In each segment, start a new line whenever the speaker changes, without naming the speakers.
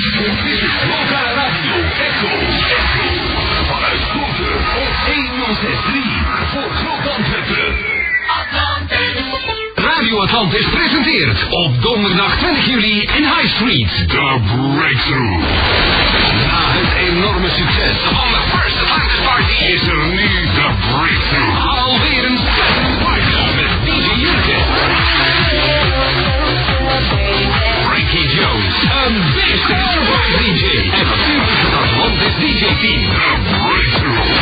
Dit is Loka Radio Echo. Echo. Vanuit Groeten op 1063 voor Groot Antwerpen. Radio Atlantis presenteert op donderdag 20 juli in High Street. The Breakthrough. Na het enorme succes van de First Atlantis Party is er nu The Breakthrough. Alweer een spannend party met DJ Jurgen. Frankie Jones, een beste surprise DJ. En natuurlijk het Atlantis DJ team.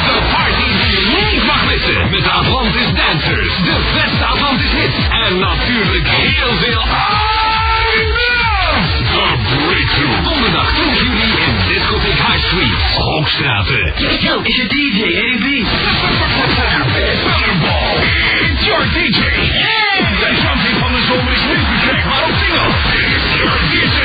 The party die je niet mag missen. Met de Atlantis Dancers, de beste Atlantis hits. En natuurlijk heel veel R&B. The Breakthrough. Donderdag 20 juli in Discotheek High Street. Hoogstraten. Yo, is je DJ, AB? Butterball. It's your DJ. De jumping van de zomer is nu vertrekt, maar op single. It's your DJ.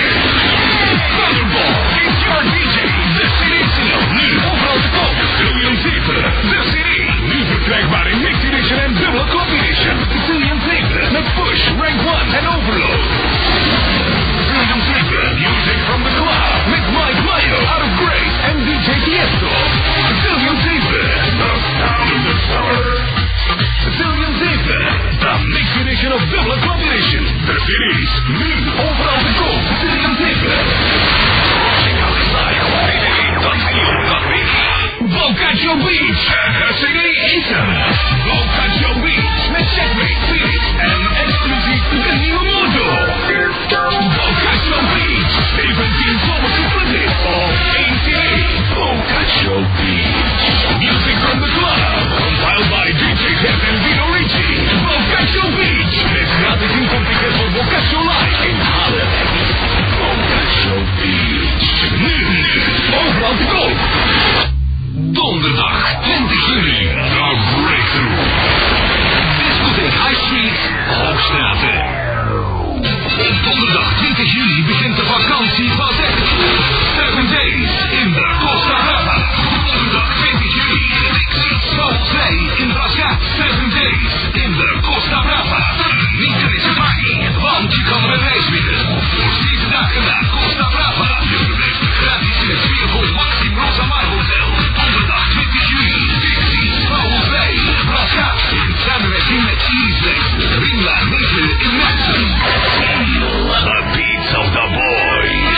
Butterball. It's your DJ. De CD single. Nu overal te koop. William 7. De CD. Nu verkrijgbaar in Mixed Edition en dubbele Copy Edition. William 7. Met Push, Rank 1 en Overload. Freedom Sleeper, music from the club with Mike Mayo, Out of Grace, and DJ Tiesto. Sicilian Sleeper, the sound of the summer. Sicilian Sleeper, the mixed edition of double combination. The series, new overall to go. Sicilian Sleeper. Check out the site, Boccaccio Beach, Herzegovina Eaton. Boccaccio Beach, met checkmate, Felix, en exclusief de nieuwe motor. Boccaccio Beach. 17 zomers gefundeerd op 1 CD. Boccaccio Beach. Music from the club. Compiled by DJ Jeff en Vino Ricci. Boccaccio Beach. Met gratis inkomticket voor Boccaccio Live in Haarlem. Boccaccio Beach. Nu, nu. Overal te koop. Donderdag 20 juli. The Breakthrough. Discotheek High Street, Hoogstraten. Donderdag 20 juli begint de vakantie van echt. Seven Days in de Costa Brava. Donderdag 20 juli. Zoals zij in Brasca. Seven Days in de Costa Brava. Niet er is het party, want je kan er een reis winnen. Voor 7 dagen naar Costa Brava. Je verblijft gratis in het Vierhof Maxim Rosa Mar Hotel. Donderdag 20 juli. Dixie, Zoals wij in Brasca. In samenwerking met Iris Ringla Negen in Maxim. The beats of the boys.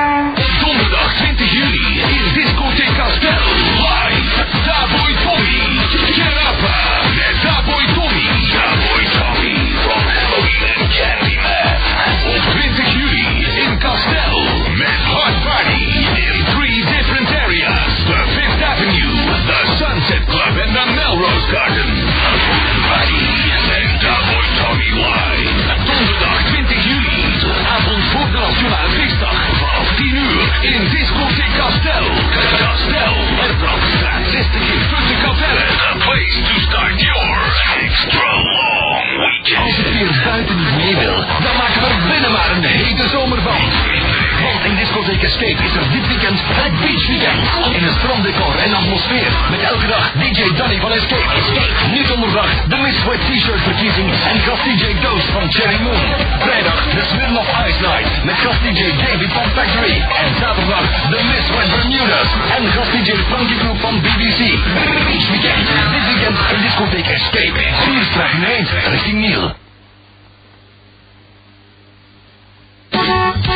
Donderdag 20 juli in Discotheek Castel. Live. Daboy Tommy. Gerapa. Met Daboy Tommy. Daboy Tommy. From Halloween and Candyman. Op 20 juli in Castel. Met Hot Party. In three different areas. The Fifth Avenue. The Sunset Club and the Melrose Garden. Hot Party. En Daboy Tommy live. Donderdag 20 juli. Avond voor de Nationale Feestdag. Vanaf 10 uur in Discotheek Castel. Castel. Herbrandsstraat 60 in Putte Capelle. The place to start your extra long weekend. Als het weer buiten niet mee wil, dan maken we er binnen maar een hete zomer van. Want in Discotheek Escape is er dit weekend het Beach Weekend. In een stranddecor en atmosfeer. Met elke dag DJ Danny van Escape. Escape. Nu donderdag de Miss Wet T-shirt verkiezing. En gast DJ Doos van Cherry Moon. Vrijdag de Smirnoff Ice Night. Met gast DJ David van Factory. En zaterdag de Miss Wet Bermudas. En gast DJ Funky Group van BBC. Beach Weekend. Dit weekend in Discotheek Escape. Vierstraat 9 richting Niel. zoek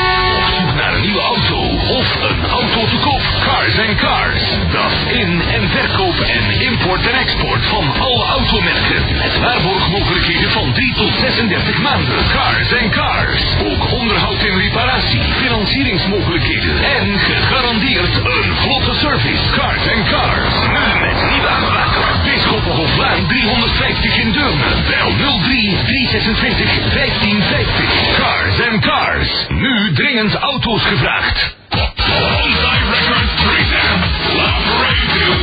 naar een nieuwe auto of een auto te koop. Cars and Cars. Dat in- en verkoop en import en export van alle automerken. Met waarborgmogelijkheden van 3 tot 36 maanden. Cars and Cars. Ook onderhoud en reparatie, financieringsmogelijkheden en gegarandeerd een vlotte service. Cars and Cars. Nu met nieuwe aanbraken. Bisschoppenhoflaan 350 in Deurne. Bel 03 326 1550. Cars and Cars. Nu dringend auto's gevraagd. Bonsai Records presents Love Parade 2000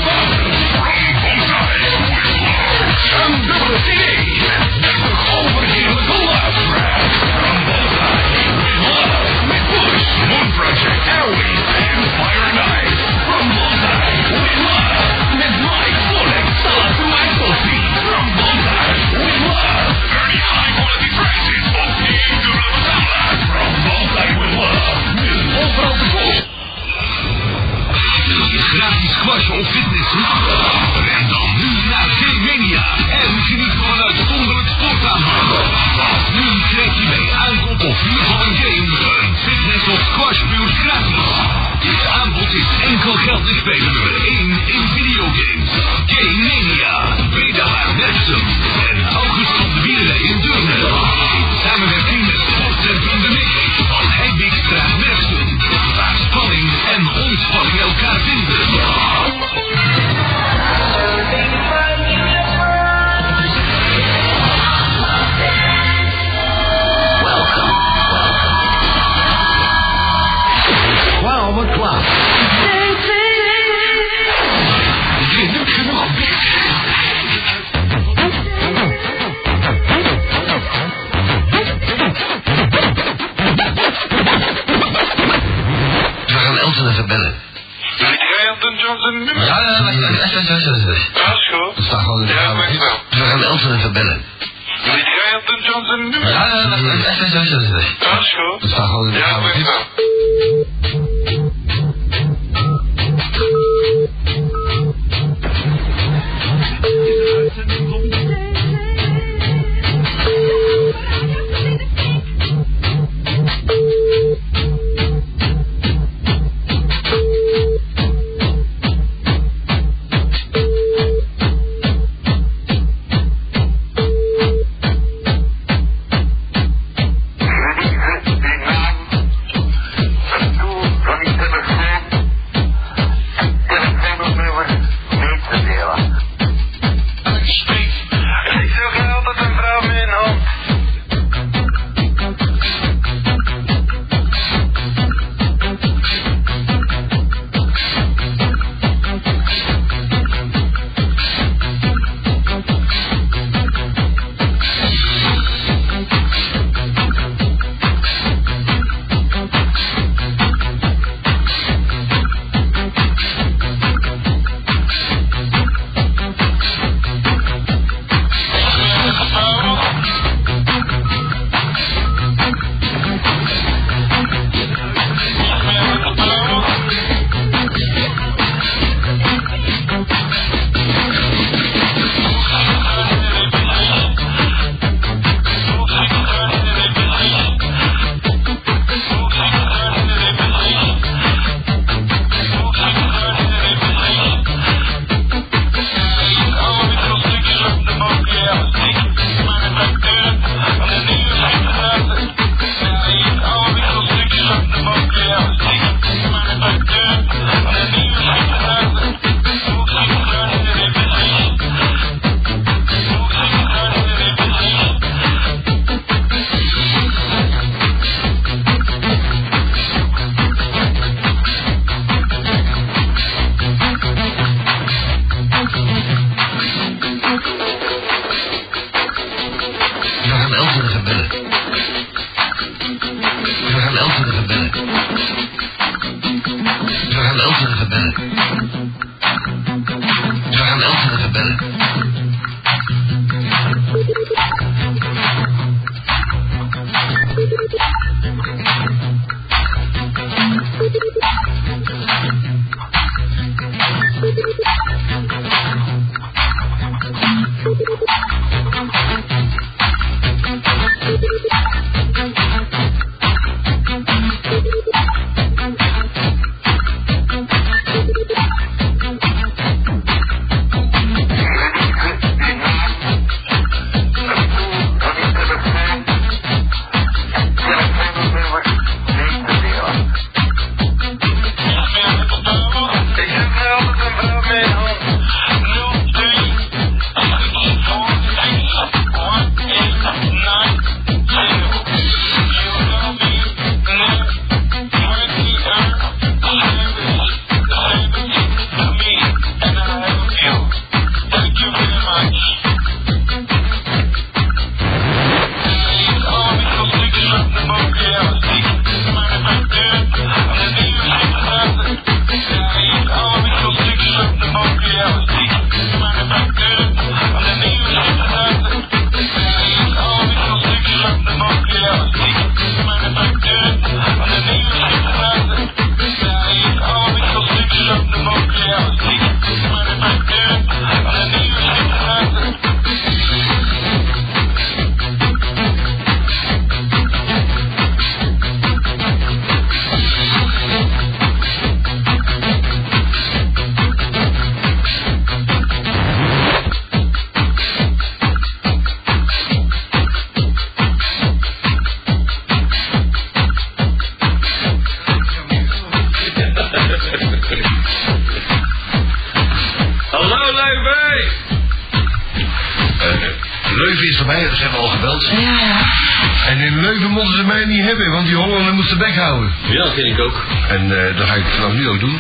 from Bonsai with love. Een dubbele CD met 30 overheerlijke love tracks from Bonsai with love. Met Bush, Moon Project, Airways en Fire and Ice from Bonsai with love. Met Mike Volek, Salatu Excelsi from Bonsai with love. 30 high quality prices op 1 euro betalen from Bonsai with love. Nu overal te koop. Marshall Fitnessen? Ren dan nu naar G-Mania en geniet van een uitzonderlijk sportaanbod. Nu krijg je bij aankoop of huur van een game een fitness of squashbuurt gratis. Dit aanbod is enkel geldig bij nummer 1 in videogames. G-Mania, Bedaar Merksem en August van de Wielen in Deurne. In samenwerking met Sportcentrum De Mix van Heijbeekstraat Merksem. Waar spanning en ontspanning elkaar vinden.
We gaan Elton even bellen.
Elton John zijn nummer?
Ja, ja, wacht, wacht, wacht, wacht, wacht, wacht, wacht.
Dat is goed.
Dat staat gewoon in de
Ja,
kamer.
wacht wel.
We gaan Elton even bellen.
Weet jij Elton John zijn
Ja,
nummer?
ja, wacht, wacht, wacht, wacht, wacht, wacht, wacht.
Dat is
Dat
goed.
staat gewoon in de
Ja,
kamer.
wacht wel. Ik zoek altijd een vrouw met een hond.
We gaan Elton even bellen. We gaan Elton even bellen. We gaan Elton even bellen. We gaan Elton even bellen.
Eh, moesten mij, dus ze hebben al gebeld.
Ja, ja.
En in Leuven mochten ze mij niet hebben, want die Hollander moest de bek houden.
Ja, dat vind ik ook.
En eh, dat ga ik vanaf nu ook doen.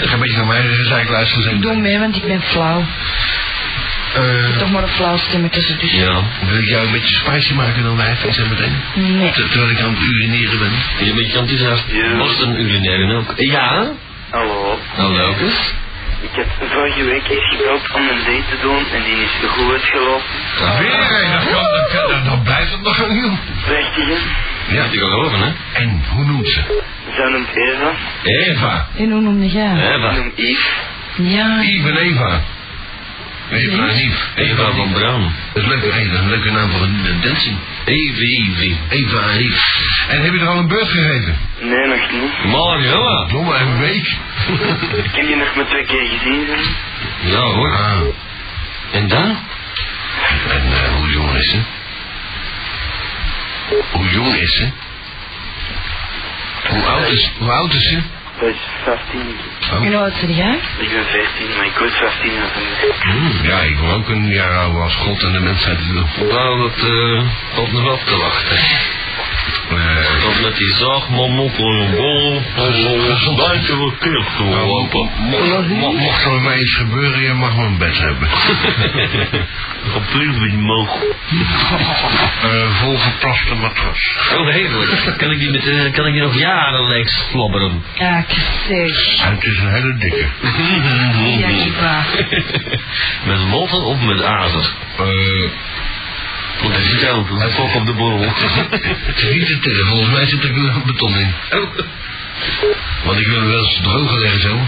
ik ga een beetje naar mij dus zei ik luisteren. Zeg,
Doe mee, want ik ben flauw.
eh,
Toch maar een flauw stemmetje dus.
ja, wil ik jou een beetje spicy maken dan wijf en zo meteen?
Nee.
Ter- Terwijl ik aan het urineren ben.
Je een beetje enthousiast.
Ja.
Was het een urinaire ook? Ja? Nou,
Hallo.
Hallo.
Ik heb vorige week eens gebeld om een date te doen en die is goed uitgelopen.
Weer een, dat, kan, dat, kan, dat, dat blijft het nog een nieuw.
Prachtige.
Ja, die kan over, hè?
En, hoe noemt ze?
Zij noemt Eva.
Eva.
En hoe noemde jij?
Ik
Eva.
noem Yves.
Ja.
Yves en Eva. Eva en Yves.
Eva van Braam.
Dat is leuk, hey, dat is een leuke naam voor een, een dancing.
Evi, Evi.
Eva en Yves. En heb je er al een beurt gegeven?
Nee, nog niet.
Marjola.
Domme een week.
Ik heb je nog maar twee keer gezien. hè.
Ja hoor.
Ah,
En dan?
en eh, hoe jong is ze? Hoe jong is ze? Hoe oud is, hoe oud is ze?
Dat is 15.
Oh.
En hoe oud ben jij?
Ik ben 14, maar ik word 15 als een...
Hmm, ja, ik wil ook een jaar ouder als God en de mensheid het wil.
Nou, dat eh, valt nog af te wachten.
Eh,
Dat met die zaagman op een bol. Een buiten wordt kip doorlopen.
mo- mo- mocht er mij iets gebeuren, je mag mijn bed hebben.
Gebeurt niet mogen.
Eh volgeplaste matras.
Oh, heerlijk. Kan ik die, met, eh, kan ik die nog jarenlang slobberen?
Ja, zeg.
En het is een hele dikke.
Ja, ik waar.
met motten of met azer?
Eh,
Want hij zit ook, hij fok op de borrel.
Het is niet te tillen, volgens mij zit er wel beton in.
Oh,
Want ik wil hem wel eens droger leggen zo.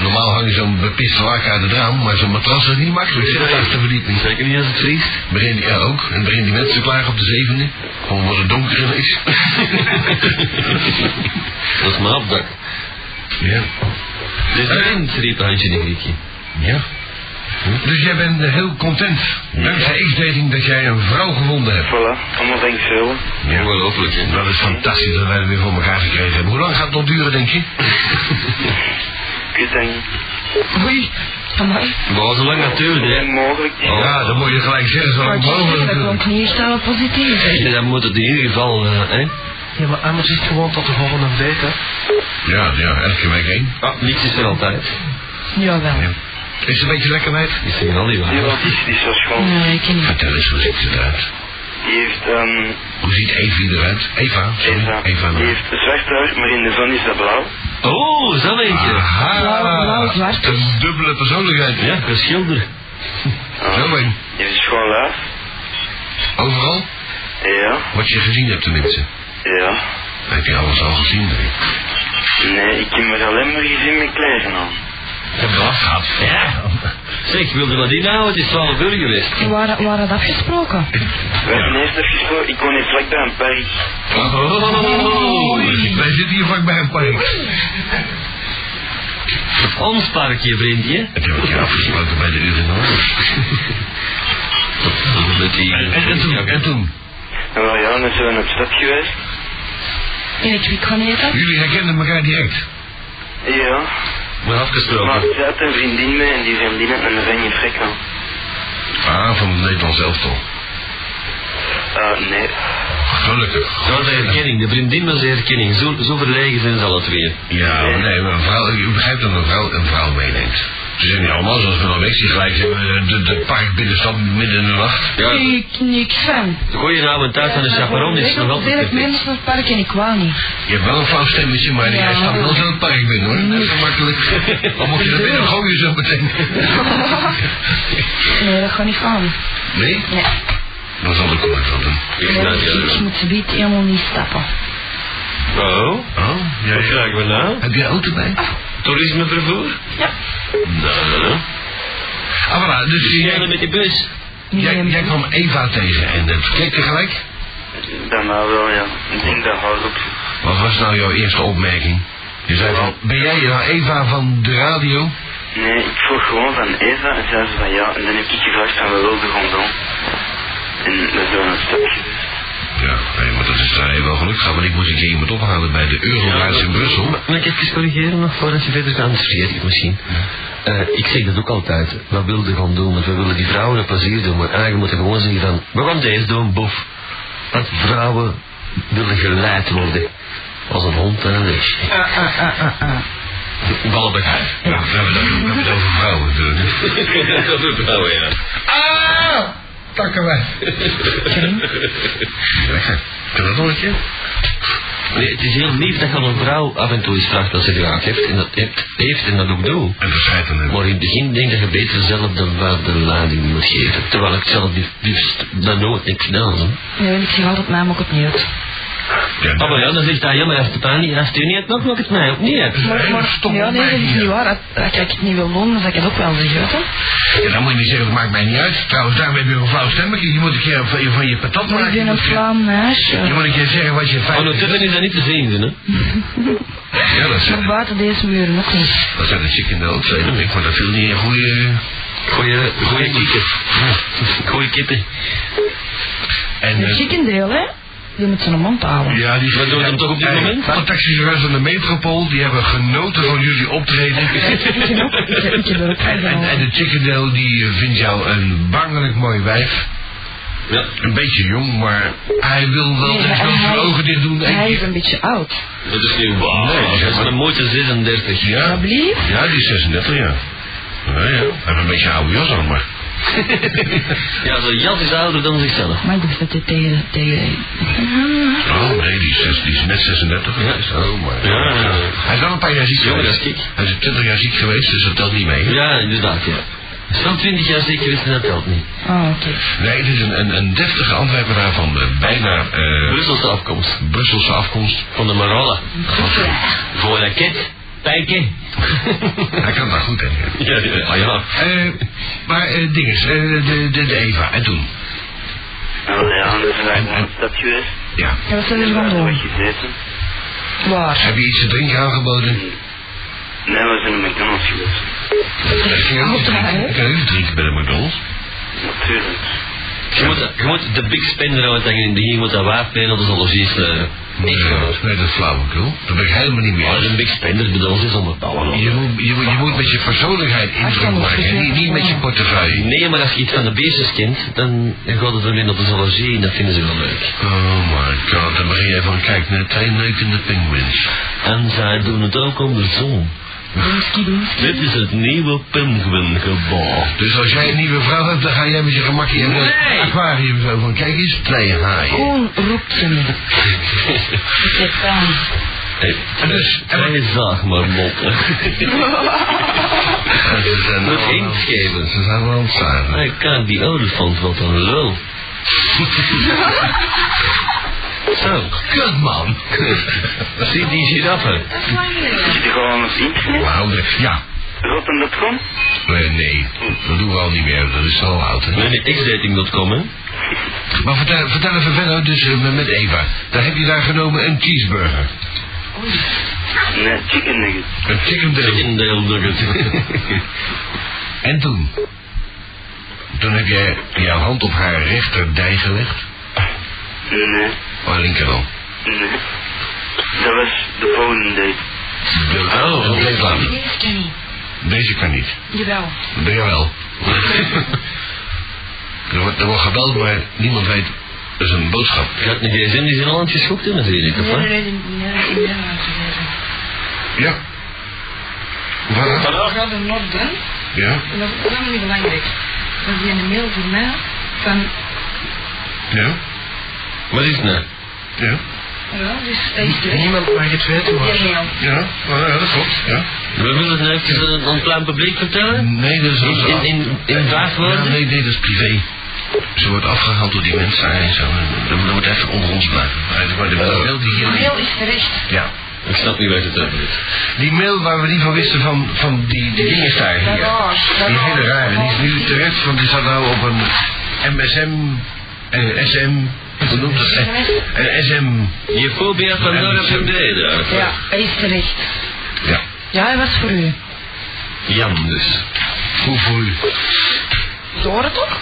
Normaal hang je zo'n bepiste lak uit het raam, maar zo'n matras is niet makkelijk. Zit de achter verdieping.
Zeker niet als het vriest.
Begin die, ja, ook. En begin die mensen klagen op de zevende. Gewoon omdat het donker is.
Dat is mijn afdak.
ja.
Dus vriend, riep Hansje de Griekje.
Ja. Dus jij bent eh, heel content. Dankzij X-dating dat jij een vrouw gevonden hebt.
Voilà, allemaal dankzij
Ongelooflijk, hè? Dat is fantastisch dat wij het weer voor elkaar gekregen hebben. Hoe lang gaat het nog duren, denk je?
Ik weet dat niet.
Oei. Amai.
Maar zo lang natuurlijk,
Hoe
hè.
mogelijk.
Ja, dan moet je gelijk zeggen, zo
Maar
lang
ik zeg,
mogelijk
dat
natuurlijk.
klonk niet echt allemaal positief.
Ja, dan moet het in ieder geval, eh, hè.
Ja, maar anders is het gewoon tot de volgende week, hè.
Ja, ja, elke week één.
Ah, niets is er altijd.
Jawel.
Is het een beetje lekker, meid?
Is er al die
Die
waar.
wat is, die is zo schoon.
Nee, ik ken niet.
Vertel eens, hoe ziet ze eruit?
Die heeft, ehm...
Hoe ziet Evie eruit? Eva? sorry.
Eva.
Eva.
Die heeft zwart haar, maar in de zon is dat blauw.
Oh, is dat eentje.
Aha.
Blauw, blauw, zwart.
Een dubbele persoonlijkheid.
Ja, een schilder.
Ah.
Zo een.
Die heeft schoon laaf.
Overal?
Ja,
Wat je gezien hebt tenminste.
ja.
Heb je alles al gezien? Nee.
Nee, ik heb me alleen maar gezien met kleren aan.
Heb je afgehaald? Ja. Zeg, wilde dat inhouden? Het is 12 uur geweest.
En waar, waar had afgesproken?
We hebben eerst even gesproken, ik woon in vlakbij een park.
Oh,
Wij zitten hier vlakbij een park.
ons parkje, vriendje.
Het heb ik je afgesproken bij de urinoir.
Met die...
En, en, en toen? En toen?
En wel ja, dan zijn we op stap geweest.
In het wiek gaan eten?
Jullie herkenden elkaar direct.
Ja,
Maar
maar
afgesproken.
ze had een vriendin mee en die vriendin had een oranje vrek aan.
Ah, van het Nederlands elftal.
Eh, nee.
Gelukkig.
Dat was de herkenning, de vriendin was de herkenning. Zo, zo verlegen zijn ze alle twee.
Ja, maar nee, maar een vrouw, je begrijpt dat een vrouw een vrouw meeneemt. Ze zijn niet allemaal zoals van Alexi gelijk hebben de, de park binnenstad midden in de nacht.
Ja,
Ik niks van.
de goeie avond thuis van de chaperon is nog altijd
Ik
perfect.
mensen van het park en ik wou niet.
Je hebt wel een flauw stemmetje, maar jij
Ja.
staat wel zo het park binnen hoor. Net zo makkelijk. Dan moet je er binnen gooien zo meteen.
Nee, dat gaat niet gaan.
Nee?
Nee.
Dan zal ik ook wat aan doen.
Ik snap
Nee,
je.
Ik moet ze biedt helemaal niet stappen.
Oh,
Oh, ja,
wat
ja.
krijgen we nou?
Heb jij auto bij?
Toerismevervoer?
Ja.
Nou, nou,
Ah, voilà, dus
Jij dan
jij,
met die bus?
Niet
jij,
helemaal.
jij kwam Eva tegen en dat klikte gelijk.
Dan maar wel ja. Ik denk dat houdt op.
Wat was nou jouw eerste opmerking? Je zei van, ben jij nou Eva van de radio?
Nee, ik vroeg gewoon van Eva en zei ze van ja. En dan heb ik gevraagd van we wilden gewoon doen. En we zijn op stap geweest.
Ja, nee, maar dat is daar wel gelukkig gaan, want ik moest een keer iemand ophalen bij de Euroraad in Brussel.
Mag ik even corrigeren nog voordat je verder gaat? Dat vergeet ik misschien.
eh, ik zeg dat ook altijd. Wat wil je gaan doen? Of we willen die vrouwen een plezier doen. Maar eigenlijk moet je gewoon zeggen van, we gaan deze doen, boef. Want vrouwen willen geleid worden. Als een hond en een lees. Ballen bij haar. Ja, we hebben dat- we hebben het over vrouwen doen.
Dat is wel, ja.
Ah! Takken wij.
Kan dat nog een keer? Nee, het is heel lief dat je aan een vrouw af en toe eens vraagt wat ze graag heeft en dat heeft, heeft en dat ook doet.
En verscheidenen.
Maar in het begin denk dat je beter zelf de waardeleiding moet geven. Terwijl ik zelf die- liefst dat nooit niks gedaan heb.
Nee, ik zeg altijd mij, maar ik het niet uit.
Ja,
Ah, maar ja, dan zegt hij, ja, maar als het aan niet, als het u niet hebt, dan maakt het mij ook niet uit.
Maar, ja, nee, dat is niet waar. Als als ik het niet wil doen, dan zal ik het ook wel zeggen. hè.
Ja, dan moet je niet zeggen, dat maakt mij niet uit. Trouwens, daarom heb je een flauw stemmetje. Je moet een keer van je, van je patat
Maar ik
maken.
ben een flauw
Je
meisje.
moet een keer zeggen wat je fijn
Van het hebben is Oh, dat niet te zien, hè?
Ja, dat
Maar
zijn,
buiten deze muren ook niet.
dat zijn de chicken notes, hè. Dat vind ik, maar dat viel niet een goede...
Goeie, goeie kippen. Goeie kippen.
En,
De
eh,
chicken deel, hè? Die moet zijn mond houden.
ja, die
Wat doen we dan toch op dit
Hey,
moment?
Alle taxichauffeurs van de metropool, die hebben genoten van jullie optreden.
Ik heb ook- ik heb- ik heb er ook van
En, en, en
gehouden.
de chickendale die eh, vindt jou een bangelijk mooi wijf.
Ja.
Een beetje jong, maar hij wil wel
Nee,
hij
en
wil zijn
hij-
ogen dicht doen. en-
Hij is een beetje oud.
Dat is niet waar.
Nee, zeg
dat is
maar.
een mooie 36.
ja,
Alsjeblieft.
ja, die is 36 jaar. Ja, ja. Hij heeft een beetje een oude jas aan, maar...
Ja, zo'n jas is ouder dan zichzelf.
Maar ik dacht dat dit tegen... tegen...
Oh nee, die is, zes- die is net 36.
Ja.
Zo, maar...
Ja, ja, ja.
Hij is wel een paar jaar ziek
Jonger
geweest.
dan ik.
Hij is 20 jaar ziek geweest, dus dat telt niet mee.
Ja, inderdaad, ja. Zo'n 20 jaar zeker wist en dat telt niet.
Oh, oké.
Nee, het is een, een, een deftige Antwerpenaar van eh, bijna eh,
Brusselse afkomst.
Brusselse afkomst.
Van de Marolle. Voor een raket. Pijken.
Hij kan daar goed in.
Ja, ja. Ah, ja.
Eh, maar eh dinges, eh, de, de, de Eva, en toen?
Nou ja, dat is wel een stapje geweest.
Ja.
Ja, wat zullen we gaan
Waar
doen?
gezeten?
Waar?
Heb je iets te drinken aangeboden?
Nee, we zijn in McDonald's geweest.
Ik kan ook iets drinken. Ik kan ook iets drinken bij de McDonald's.
Natuurlijk.
Je moet, je moet de big spender uit zeggen in het begin, je moet dat waard zijn, dat is al logisch. eh,
Nee,
Niet gewoon.
nee, dat is flauwekul. Daar ben ik helemaal niet mee
Maar
eens.
een big spender bij ons is onbetaalbaar.
Je moet, je, moet, je moet met je persoonlijkheid indruk maken, hè, niet, niet met je portefeuille.
Nee, maar als je iets van de beestjes kent, dan gaat het ermee op de zoologie en dat vinden ze wel leuk.
Oh my god, dan begin jij van, kijk, net twee neukende penguins.
En zij doen het ook andersom.
Doemski, doemski.
Dit is het nieuwe pinguïngebouw.
Dus als jij een nieuwe vrouw hebt, dan ga jij met je gemakje in het aquarium zo van, kijk eens, twee haaien.
Koen roept ze me. Ik heb pijn.
En dus, en wat-
Zij zag maar moppen.
ze zijn
Moet
allemaal-
inkt geven.
Ze zijn wel aan het zagen.
Hij kan die olifant, wat een lul. Zo,
Kut man.
zie die giraffen.
Zit je gewoon op internet?
Wauw, de- ja.
Rotten.com?
Nee, nee, dat doen we al niet meer. Dat is al oud, hè?
Mijn xdating.com, hè?
Maar vertel, vertel even verder, dus eh, met Eva. Daar heb je daar genomen een cheeseburger.
Nee, chicken nuggets.
Een chicken dip.
Chickendale nugget.
En toen? Toen heb jij jouw hand op haar rechterdij gelegd.
Nee,
Oh, linker dan.
nee. Dat was de volgende date.
Oh, dat bleef later.
Nee, dat kan niet.
Deze kan niet.
Jawel.
Ben je wel. er, wordt, er wordt gebeld, maar niemand weet. Dat is een boodschap.
Gaat niet gsm, die zijn al aan het geschokt hè, natuurlijk, of
Nee,
wat?
nee, nee, nee, nee, nee, nee.
Ja. Wat?
Ik had hem nog doen.
Ja.
En dat is helemaal niet belangrijk. Dat is een mail voor mij van...
Ja.
Wat is het nou?
Ja.
Ja, dus dat is terug.
Niemand mag het weten, maar...
Die mail.
Ja, nou ja, dat klopt. Ja.
We willen het nou even aan- aan het klein publiek vertellen?
Nee, dat is
In, in, in, in vijf
Ja,
woorden?
nee, nee, dat is privé. Ze wordt afgehaald door die mensen daar en zo. Dat dat moet even onder ons blijven. Maar de- maar de mail die
De
hier...
mail is terecht.
Ja.
Ik snap niet waar je het over is.
Die mail waar we niet van wisten van, van die, die dingen daar
Dat
hier.
was. dat
Die
was-
hele rare. Die is nu terecht, want die staat nou op een MSM... eh, SM... Hoe noemt dat? Eh, Een SM...
Je fobia van
En-
Nora van Breda.
Ja, hij is terecht.
Ja.
Ja, hij was voor u.
Jan dus.
Hoe voor u?
Door het toch?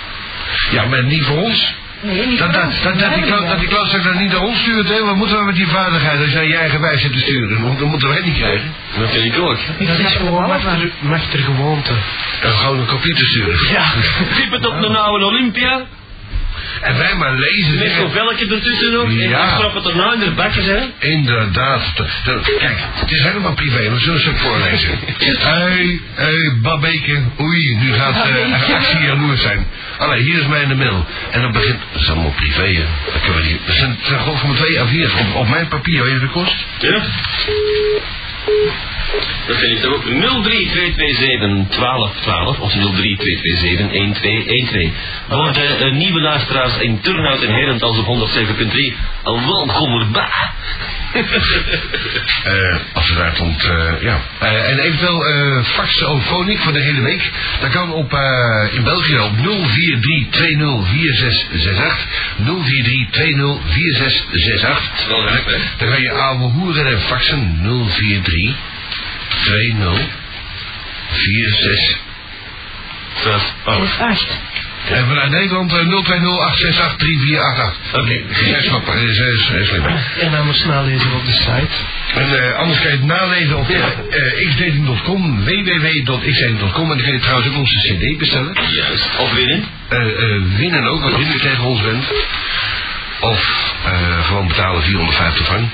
Ja, maar niet voor ons.
Nee, niet
Dat, dat, dat, dat, die, klo- dat die klootzak dat niet naar ons stuurt, hè? Wat moeten we met die vaardigheid als jij je eigen wijs zit te sturen? Dat, dat moeten wij niet krijgen.
Dat vind ik ook.
Dat is gewoon wat waar.
gewoonte. En gewoon een computer sturen.
Ja, typ het op de oude Olympia.
En wij maar lezen.
Met
hè.
zo'n velkje ertussen nog. En
Ja.
dan strap het
nou
erna in de bakjes, hè.
Inderdaad. Dat- dat- Kijk, het is helemaal privé, maar zullen ze het voorlezen? Hé, hé, Babeke. Oei, nu gaat eh actie jaloers zijn. Allee, hier is mijn mail. En dan begint... Dat is allemaal privé, hè. Dat kunnen we niet... Dat zijn, dat zijn gewoon van twee A4's op, op mijn papier. Weet je wat het kost?
Ja. Dat vind ik toch ook.
03227 1212 of 03227 1212. Voor de eh, nieuwe luisteraars in Turnhout en Herentals op 107.3, een welkom erbij.
Eh, als het uitkomt, eh, ja. Eh, en eventueel eh fax of phoniek voor de hele week. Dat kan op, eh, in België op 043204668. 043204668.
Wel leuk, hè?
Dan kan je oude hoeren en faxen 043 20 46.
Vijf,
Dat
oh.
is acht.
En vanuit Nederland eh, 020868348. Oké, zij snappen, eh, zij is zij is slim.
En dan maar snel lezen op de site.
En eh, anders kan je het nalezen op eh eh, xdating.com, www.xdating.com. En dan kan je trouwens ook onze cd bestellen.
Juist. Of winnen?
Eh, eh, winnen ook, als je tegen ons bent. Of eh, gewoon betalen 450 frank.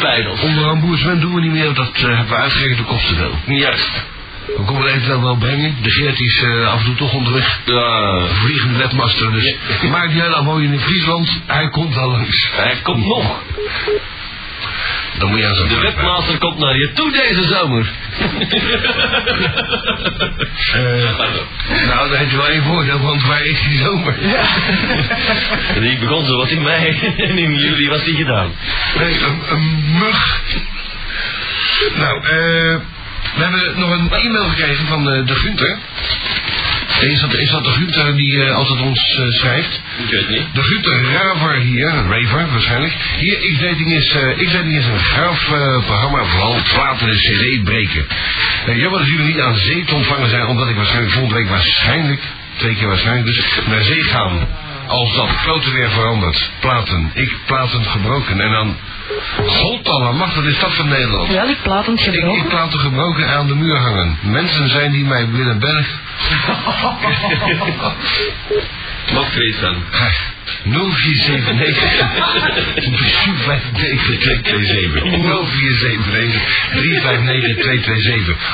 Pijl.
Onderaan boersman doen we niet meer, want dat eh, hebben we uitgerekend, dat kost te veel.
Juist.
We komen het eventueel wel brengen. De Geert is eh, af en toe toch onderweg.
Ja.
Vliegende webmaster, dus. Maakt niet uit, al woon je in Friesland, hij komt wel langs.
Hij komt nog.
Dan moet je aan zijn
De
vraag
webmaster komt naar je toe deze zomer.
vragen. Nou, daar heb je wel één voordeel, want waar is die zomer?
Die begon zo wat in mei en in juli was die gedaan.
Nee, een, een mug. Nou, eh, we hebben nog een e-mail gekregen van eh, de Gunther. Is dat, is dat de Gunther die eh, altijd ons eh, schrijft?
Ik weet niet.
De Gunther Raver hier, Raver waarschijnlijk. Hier, X-Dating is, eh, X-Dating is een gaaf eh, programma, vooral platen en cd breken. Eh, jammer dat jullie niet aan zee te ontvangen zijn, omdat ik waarschijnlijk volgende week waarschijnlijk, twee keer waarschijnlijk dus, naar zee gaan. Als dat klote weer verandert. Platen, ik platen gebroken. En dan, godallemachtig, wat is dat van Nederland?
Terwijl ik platend
Ik, ik
gebroken.
laat de gebroken aan de muur hangen. Mensen zijn die mij willen bergen.
Wat vrees dan?
0479-359-227.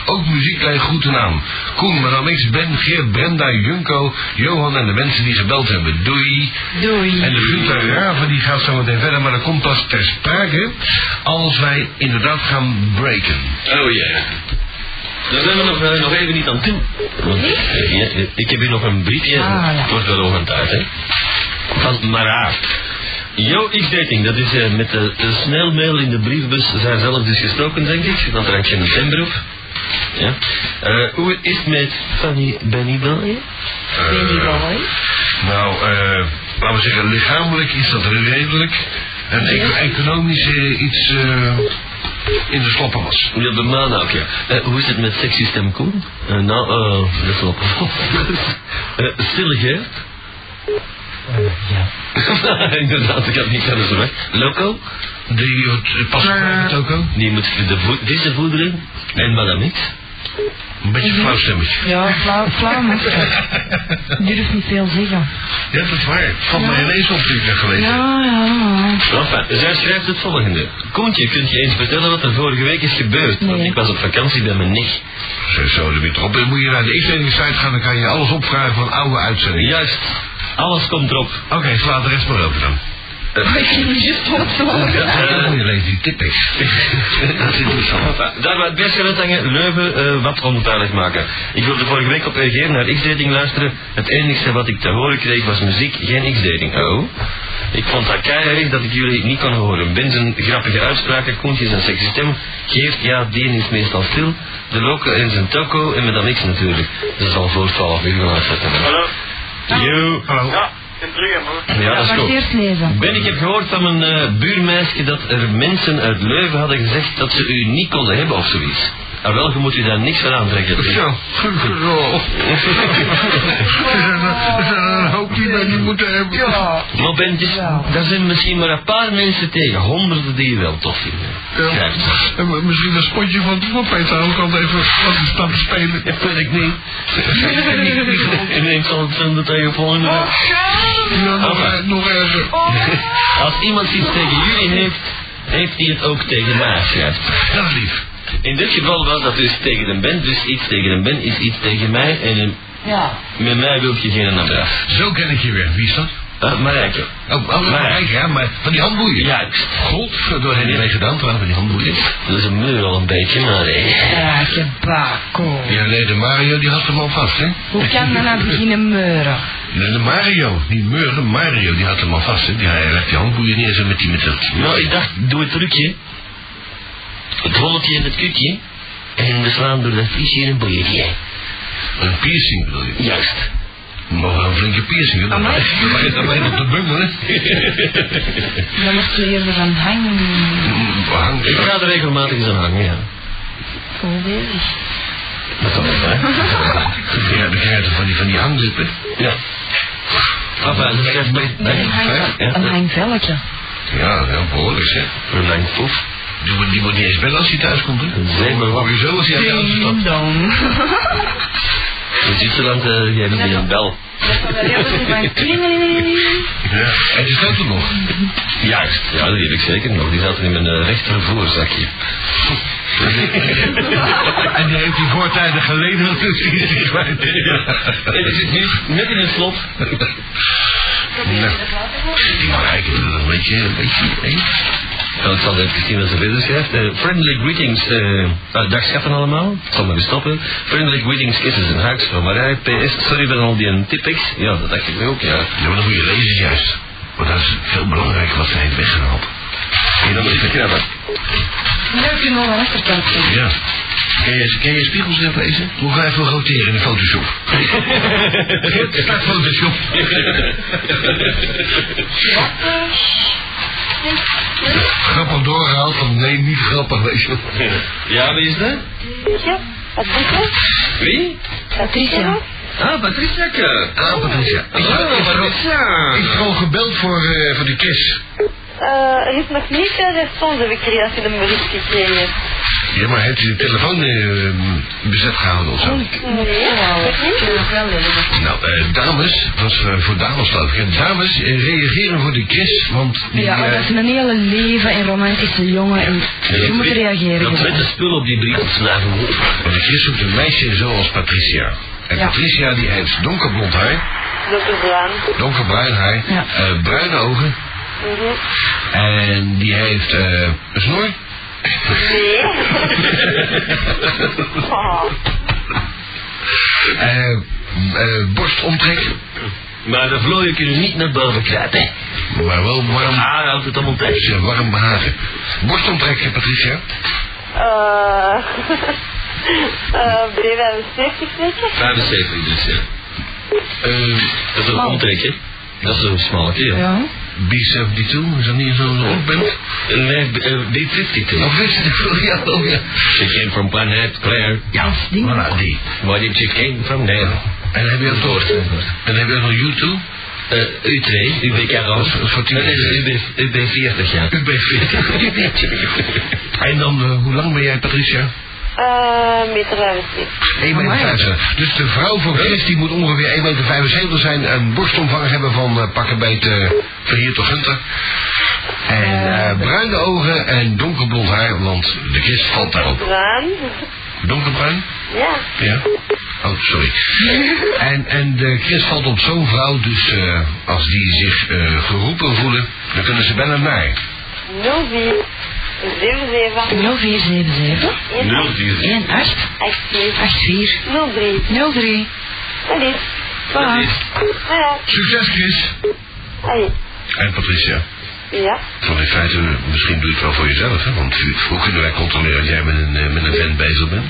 Ook muzieklijn groeten aan. Koen, Madame X, Ben, Geert, Brenda, Junko, Johan en de mensen die gebeld hebben. Doei.
Doei.
En de Gunter Raven die gaat zo meteen verder, maar dat komt pas ter sprake als wij inderdaad gaan breken.
Oh ja. Daar zijn we nog, eh, nog even niet aan toe. Want, eh, ja, eh, ik heb hier nog een briefje.
Ah, ja.
Het wordt wel ochtend uit, hè. Van Mara. Yo, X-Dating, dat is eh, met de, de snelmail in de briefbus zijn zelf dus gestoken, denk ik. Want er had je een stemberoep. Ja. Eh, hoe is het met Fanny Benny Belje?
Baby
eh,
boy.
Nou, eh, laten we zeggen, lichamelijk is dat redelijk. En eco- economisch eh, iets eh, in de sloppen was.
Ja, de maan ook, ja. Eh, hoe is het met sexy stem Koen? Eh, nou, eh, dat klopt. Eh stillig, hè? ja. Inderdaad, ik had niet anders verwacht. Loco,
Die het past bij het ook al.
die moet de vo deze voederen. En madame niet.
Een beetje flauwstemmig.
Ja, flauw, flauw maar eh, ik durf niet veel zeggen.
Ja, dat is waar. Het valt mij ineens op die ik dat gelezen heb.
Ja, ja, ja.
Nou, Enfin, zij schrijft het volgende. Koentje, kunt je eens vertellen wat er vorige week is gebeurd? Want
Nee.
ik was op vakantie bij mijn nicht.
Zo, zo, er weer erop. Dan moet je naar de instellingssite gaan, dan kan je alles opvragen van oude uitzendingen.
Juist, alles komt erop.
Oké, sla de rest maar open dan.
Ik ging juist wat zo.
eh,
Ja, dan moet je lezen die tip is. dat is interessant.
Enfin, Daar waar het best gaat hangen, Leuven eh, wat onduidelijk maken. Ik wilde vorige week op RG naar X-Dating luisteren. Het enige wat ik te horen kreeg was muziek, geen X-Dating. Oh. Ik vond dat keihard dat ik jullie niet kon horen. Benzen, grappige uitspraken, Koentjes en sexy stem. Geert, ja, die is meestal stil. De Loco en zijn toko en met dan niks natuurlijk. Ze zal voor 12 uur gaan uitzetten.
Hallo?
Yo.
Ja, in Brugge, man.
Ja, dat is
Ja,
goed.
maar eerst lezen.
Ben, ik heb gehoord van mijn eh, buurmeisje dat er mensen uit Leuven hadden gezegd dat ze u niet konden hebben of zoiets.
Ah, wel, je moet je daar niks van aantrekken.
Zo, gelukkig Er zijn er- er zijn er een hoop die wij niet moeten hebben.
Ja.
Maar bandjes,
Ja.
daar zijn misschien maar een paar mensen tegen. Honderden die je wel tof vinden.
Ja.
Schrijf het.
En m- misschien een spotje van, van Peter ook al even wat een stap spelen.
Dat weet ik niet. Ineens zal het zijn dat hij je volgende week-
Ja, nog,
Oké.
eh, nog erger.
Als iemand iets tegen jullie heeft, heeft hij het ook tegen mij, schrijft.
Dat is lief.
In dit geval was dat dus tegen een band, dus iets tegen een band is iets tegen mij en een-
Ja.
met mij wil je geen adres.
Zo ken ik je weer. Wie is dat?
Eh Marijke.
Oh, oh
Maar-
kijk, ja, maar van die handboeien.
Juist.
Godverdorie, die
Ja.
mee gedaan trouwens, van die handboeien.
Dat is een muur al een beetje, maar eh.
Ja, gebakko.
Ja, nee, de Mario, die had hem al vast, hè?
Hoe kan men nou beginnen meuren?
Nee, de Mario, die meuren Mario, die had hem al vast, hè? Die, hij legt die handboeien neer zo met die met dat...
Nou, ik dacht, doe het trucje. Het holletje en het kutje. En we slaan door dat viesje in een boeietje.
Een piercing bedoel je?
Juist.
Nog wel een flinke piercing, hè? Dat
Amai.
lijkt- Dat lijkt op de bungel, hè?
Dan mocht je eerder van hangen.
Hang,
Ik ga er regelmatig eens aan hangen, ja.
Goed bezig.
Dat kan wel, hè?
Ja, dan krijg je toch van die, van die hangzippen.
Ja. Papa, dat schrijft bij...
Nee, een, hang,
Ja.
een hangvelletje.
Ja, ja, behoorlijk, zeg.
Een lang poef.
Die moet, die moet niet eens bellen als hij thuis komt, hè?
Zeg maar wat.
Hoor je zo als hij thuis komt?
Ding dong.
In Zwitserland, eh, jij doet niet aan bel.
Ja. En die staat er nog.
Juist. Ja, dat weet ik zeker nog. Die zat er in mijn eh, rechtervoorzakje.
en die heeft die voortijdig geleverd, dus die is niet kwijt.
En die zit nu net in een slot.
Nou, die Marijke, dat is een beetje, een beetje eng.
Nou, ik zal even zien wat ze verder schrijft. Eh, friendly greetings, eh, ah, dag schatten allemaal. Ik zal maar weer stoppen. Friendly greetings, kisses en hugs van Marij. PS, sorry voor al die tipex. Ja, dat dacht ik ook, ja.
Ja, maar dan moet je lezen juist. Want dat is veel belangrijker wat zij heeft weggehaald. Ken je dat
Even
even?
krabben.
Leuk je nog aan de achterkant. zien.
Ja. Ken je, ken je spiegels even lezen? Moet ik even roteren in de Photoshop? Start Photoshop. grappig doorgehaald, want nee, niet grappig, weet je wel.
Ja, wie is dat? Wie?
Patricia.
Ah, Patricia.
Ah, Patricia. Ik,
Ah, Patricia.
ik heb gewoon gebeld voor, eh, voor die kist.
Eh, heeft nog niet eh, respons, heb ik hier als je de bericht gekregen.
Ja, maar heeft u de telefoon eh, bezet gehouden of zo?
Oh. Nee, nog niet.
Nou, eh, dames, was eh, voor dames geloof ik. hè. Dames, eh, reageren voor die Chris, want die...
Ja, maar
eh,
dat is een hele leven en romantische jongen. En je moet reageren.
Dat witte spul op die brief opsnuiven.
want de Chris zoekt een meisje zoals Patricia. En
Ja.
Patricia die heeft donkerblond haar,
Dat is Vlaam.
donkerbruin haar,
Ja.
eh, bruine ogen
Mhm.
en die heeft eh, een snor.
Nee. Oh,
eh, eh, borstomtrek,
Maar de vlooien kunnen niet naar boven kruipen.
maar wel warm,
Ah.
Haar houdt het allemaal
heeft
tegen.
ze warm behagen. Borstomtrek, eh, Patricia.
Eh, eh, 73 zeker?
75 dus, ja. Ehm, dat is een
Oh.
omtrek, hè? Dat is een smalle kerel.
Ja.
B72, is dat niet zo'n rondband?
Nee, eh, die 52.
Of is het? Ja, oh ja.
She came from planet Claire.
Ja,
ding.
voilà, die.
Where did she came from there?
En heb je ook nog, en heb je ook nog YouTube?
Eh, U2, UB40.
Dat is Eh, voor tien
Nee,
jaar.
nee, UB, UB40, ja.
UB40. en dan, eh, hoe lang ben jij, Patricia?
Eh, meter 75.
1,75 meter. Dus de vrouw van Chris die moet ongeveer 1,75 meter zijn. Een borstomvang hebben van eh, pakken bij het eh, van hier tot Gunter. En eh, bruine ogen en donkerblond haar, want de Chris valt daarop.
Vlaam.
Donkerbruin?
Ja.
Ja. Oh, sorry. en, en de Chris valt op zo'n vrouw, dus eh, als die zich eh, geroepen voelen, dan kunnen ze bellen naar.
04 77
0477
040.
18
18
84
03.
03.
Dat is.
Voilà.
Nou ja.
Succes, Chris.
Allee.
En Patricia.
Ja.
Want in feite, eh, misschien doe je het wel voor jezelf, hè? Want hoe kunnen wij controleren dat jij met een, eh, met een vent bezig bent?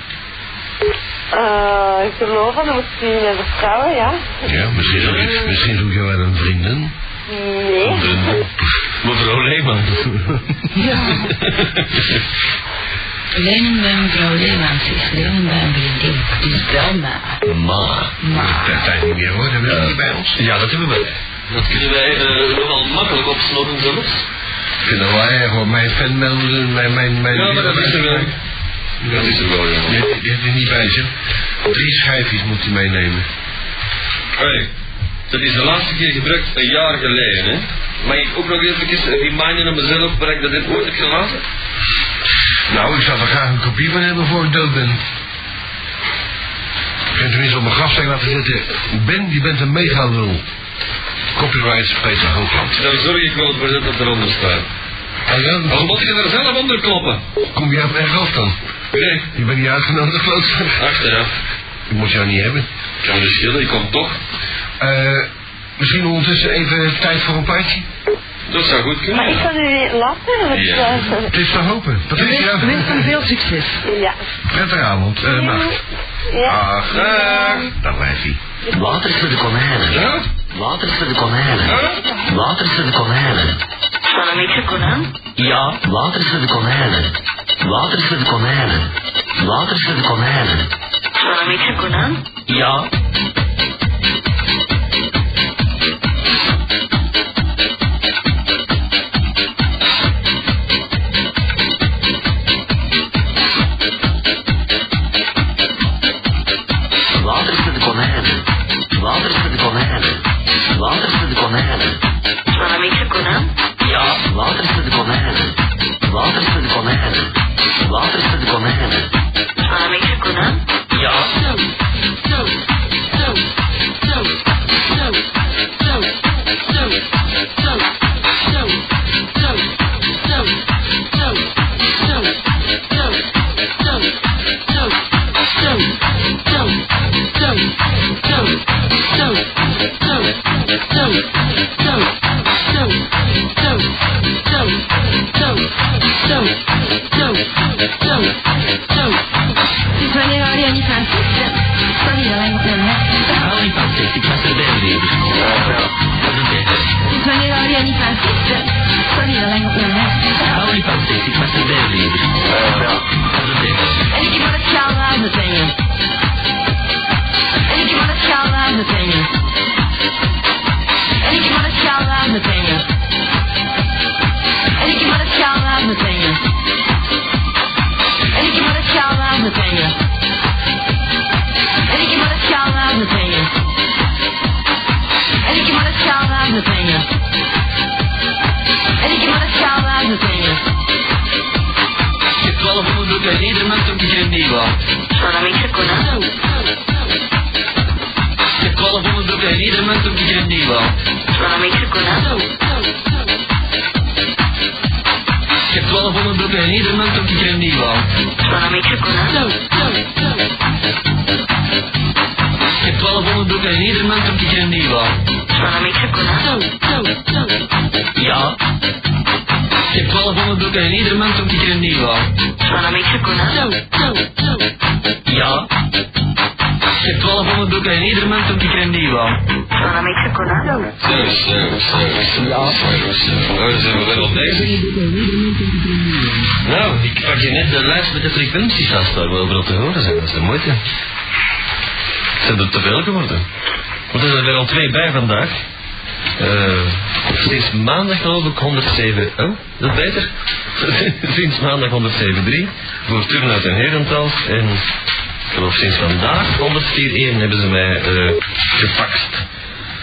Eh, ik geloof dat we misschien hebben vrouwen, ja.
Ja, misschien zoek je, misschien zoek je wel een vriendin.
Nee.
Nou,
Mevrouw Leeman.
Lenen bij mevrouw Leemans is lenen bij een vriendin. Dus bel mij.
Ma.
Maar.
Dat tijd niet meer hoor, dat hebben we niet bij ons.
Ja, dat hebben we.
Dat kunnen wij eh, nogal makkelijk opsloppen zelfs.
Kunnen wij gewoon mijn fanmelden, mijn, mijn, mijn...
Dat is er wel, jongen.
Dit, dit is niet bij zich. Drie schijfjes moet hij meenemen.
Hey, dat is de laatste keer gebruikt een jaar geleden, hè. Mag ik ook nog even reminden aan mezelf waar ik dat dit ooit heb gelaten?
Nou, ik zou er graag een kopie van hebben voor ik dood ben. Ik heb tenminste op mijn grafsteen laten zitten. Ben, je bent een mega lul. Copyright Peter Hoogland.
Dan zorg ik wel voor dat dat eronder staat.
Ah ja,
Dan moet je er zelf onder kloppen.
kom je op mijn graf dan?
Nee,
Je bent niet uitgenodigd, klootzak.
achteraf.
Ik moet jou niet hebben.
Kan me schillen, ik kom toch.
Eh, misschien ondertussen even tijd voor een plaatje?
Dat zou goed
Maar ik
kunnen.
kan jullie lasten. want,
Ja.
eh,
Het is te hopen.
Wens
Patricia,
wens hem veel succes.
ja.
prettige avond. Eh, nacht.
Ja.
Dag. eh, Dag. Dag, wijfie.
Water voor de konijnen.
Ja?
Water voor de konijnen. Water voor de konijnen.
Zal hem ik kunnen?
Ja, water voor de konijnen. Water voor de konijnen. Water voor de konijnen.
Zal hem ik kunnen?
Ja. Water voor de konijnen. Water voor de konijnen. Water voor de konijnen.
Zal
Ah,
hem ik kunnen?
Ja, water voor de konijnen. Water voor de konijnen. Water voor de konijnen.
Zal hem ik kunnen?
Ja.
Dus wanneer hou jij niet van succes? Sorry, dat lijkt me net.
Hou niet van dit, ik was er bij weer. Dat is beter.
Dus wanneer hou jij niet van succes? Sorry, dat lijkt me net.
Hou niet van dit, ik was er bij weer. Dat is beter.
En ik wil het gaan laten zingen. En ik wil het gaan laten zingen. En ik wil het gaan laten zingen. En ik wil het gaan laten zingen. En ik wil het gaan laten zingen. En ik wil het gaan laten zingen. En ik wil het gaan laten zingen. En ik wil het gaan laten zingen.
Ik heb 1200 ook aan ieder mens om te geven die waar.
Zal ik ze kunnen?
Ik heb 1200 ook aan ieder mens om te geven die waar.
Zal ik ze kunnen?
Ik heb 1200 ook aan ieder mens om te geven die waar.
Zal ik ze kunnen?
Ik heb 1200 ook aan ieder mens om te geven die waar.
Zal ik ze kunnen?
Ja. Ik heb 1200 ook aan ieder mens om te geven die waar.
Zal ik ze kunnen?
Ja. Ik heb 1200 ook aan ieder mens om te geven die waar.
Zal ik ze kunnen?
Zo, zo, zo, zo. Daar zijn we wel op bezig.
Nou, ik pak je net de lijst met de frequenties af daar wel op te horen zijn. Dat is de moeite. Zijn er te veel geworden? Want er zijn er al twee bij vandaag. Eh, sinds maandag geloof ik 107. Oh, dat is beter. sinds maandag 107.3 voor Turnhout en Herentals. En ik geloof sinds vandaag 104.1 hebben ze mij eh gefaxt.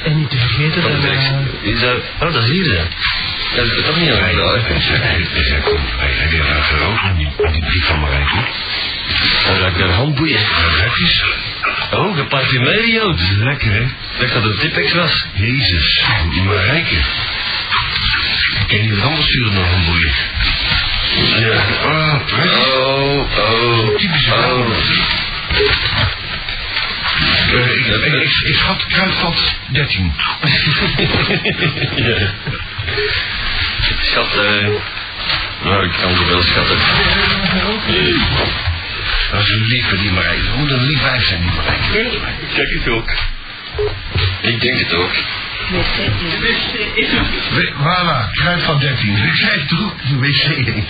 En niet te vergeten eh,
Van
dat
de
wij...
werk- Is dat... Oh, dat is hier, hè. Dat is toch niet
Hij
al
heb je daar geroofd aan die, aan die brief van Marijn Goed?
Dan raak ik daar handboeien.
Rijpjes?
Oh, geparfumeerd.
Lekker hè?
Dacht dat het Tipex was.
Jezus, Marijke. Ken je wat anders sturen dan een boeien?
Ja.
Ah, prachtig.
Oh, oh,
Typische vrouw. Eh, ik, ik, ik, ik schat kruidvat 13.
ja. Schat, eh... Nou, ik kan het wel schatten.
Dat is een lieve die Marijke. Hoe een lief wijf zijn die Marijke.
Kijk het ook. Ik denk het ook.
wc in.
We- Voilà, kruid van 13. Ik zei het toch, de wc heen.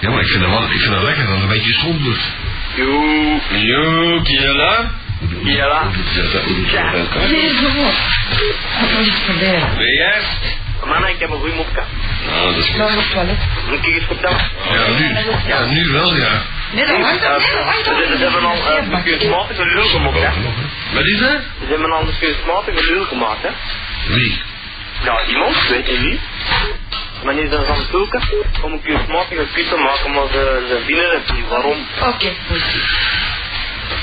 Ja, maar ik vind dat wel ik vind dat lekker dat het een beetje stond wordt.
Joe.
Joek, jelle.
Jella.
Nee, gewoon. Dat was iets verleden.
Ben jij?
Mannen, ik heb een goede mopka.
Nou, dat is
Dan op het toilet.
Moet ik eens vertellen? Eh,
Ja, nu. Ja, nu wel, ja.
Nee, dat was dat. Nee, dat was dat.
Ze hebben al eh, een bestuursmatige lul gemaakt, hè?
Wat is dat?
Ze hebben al een bestuursmatige lul gemaakt, hè?
Wie?
Ja, Nou, iemand, weet je wie? Men is dan gaan zoeken om een kunstmatige kut te maken, maar ze, ze vinden het niet. Waarom?
Oké, goed.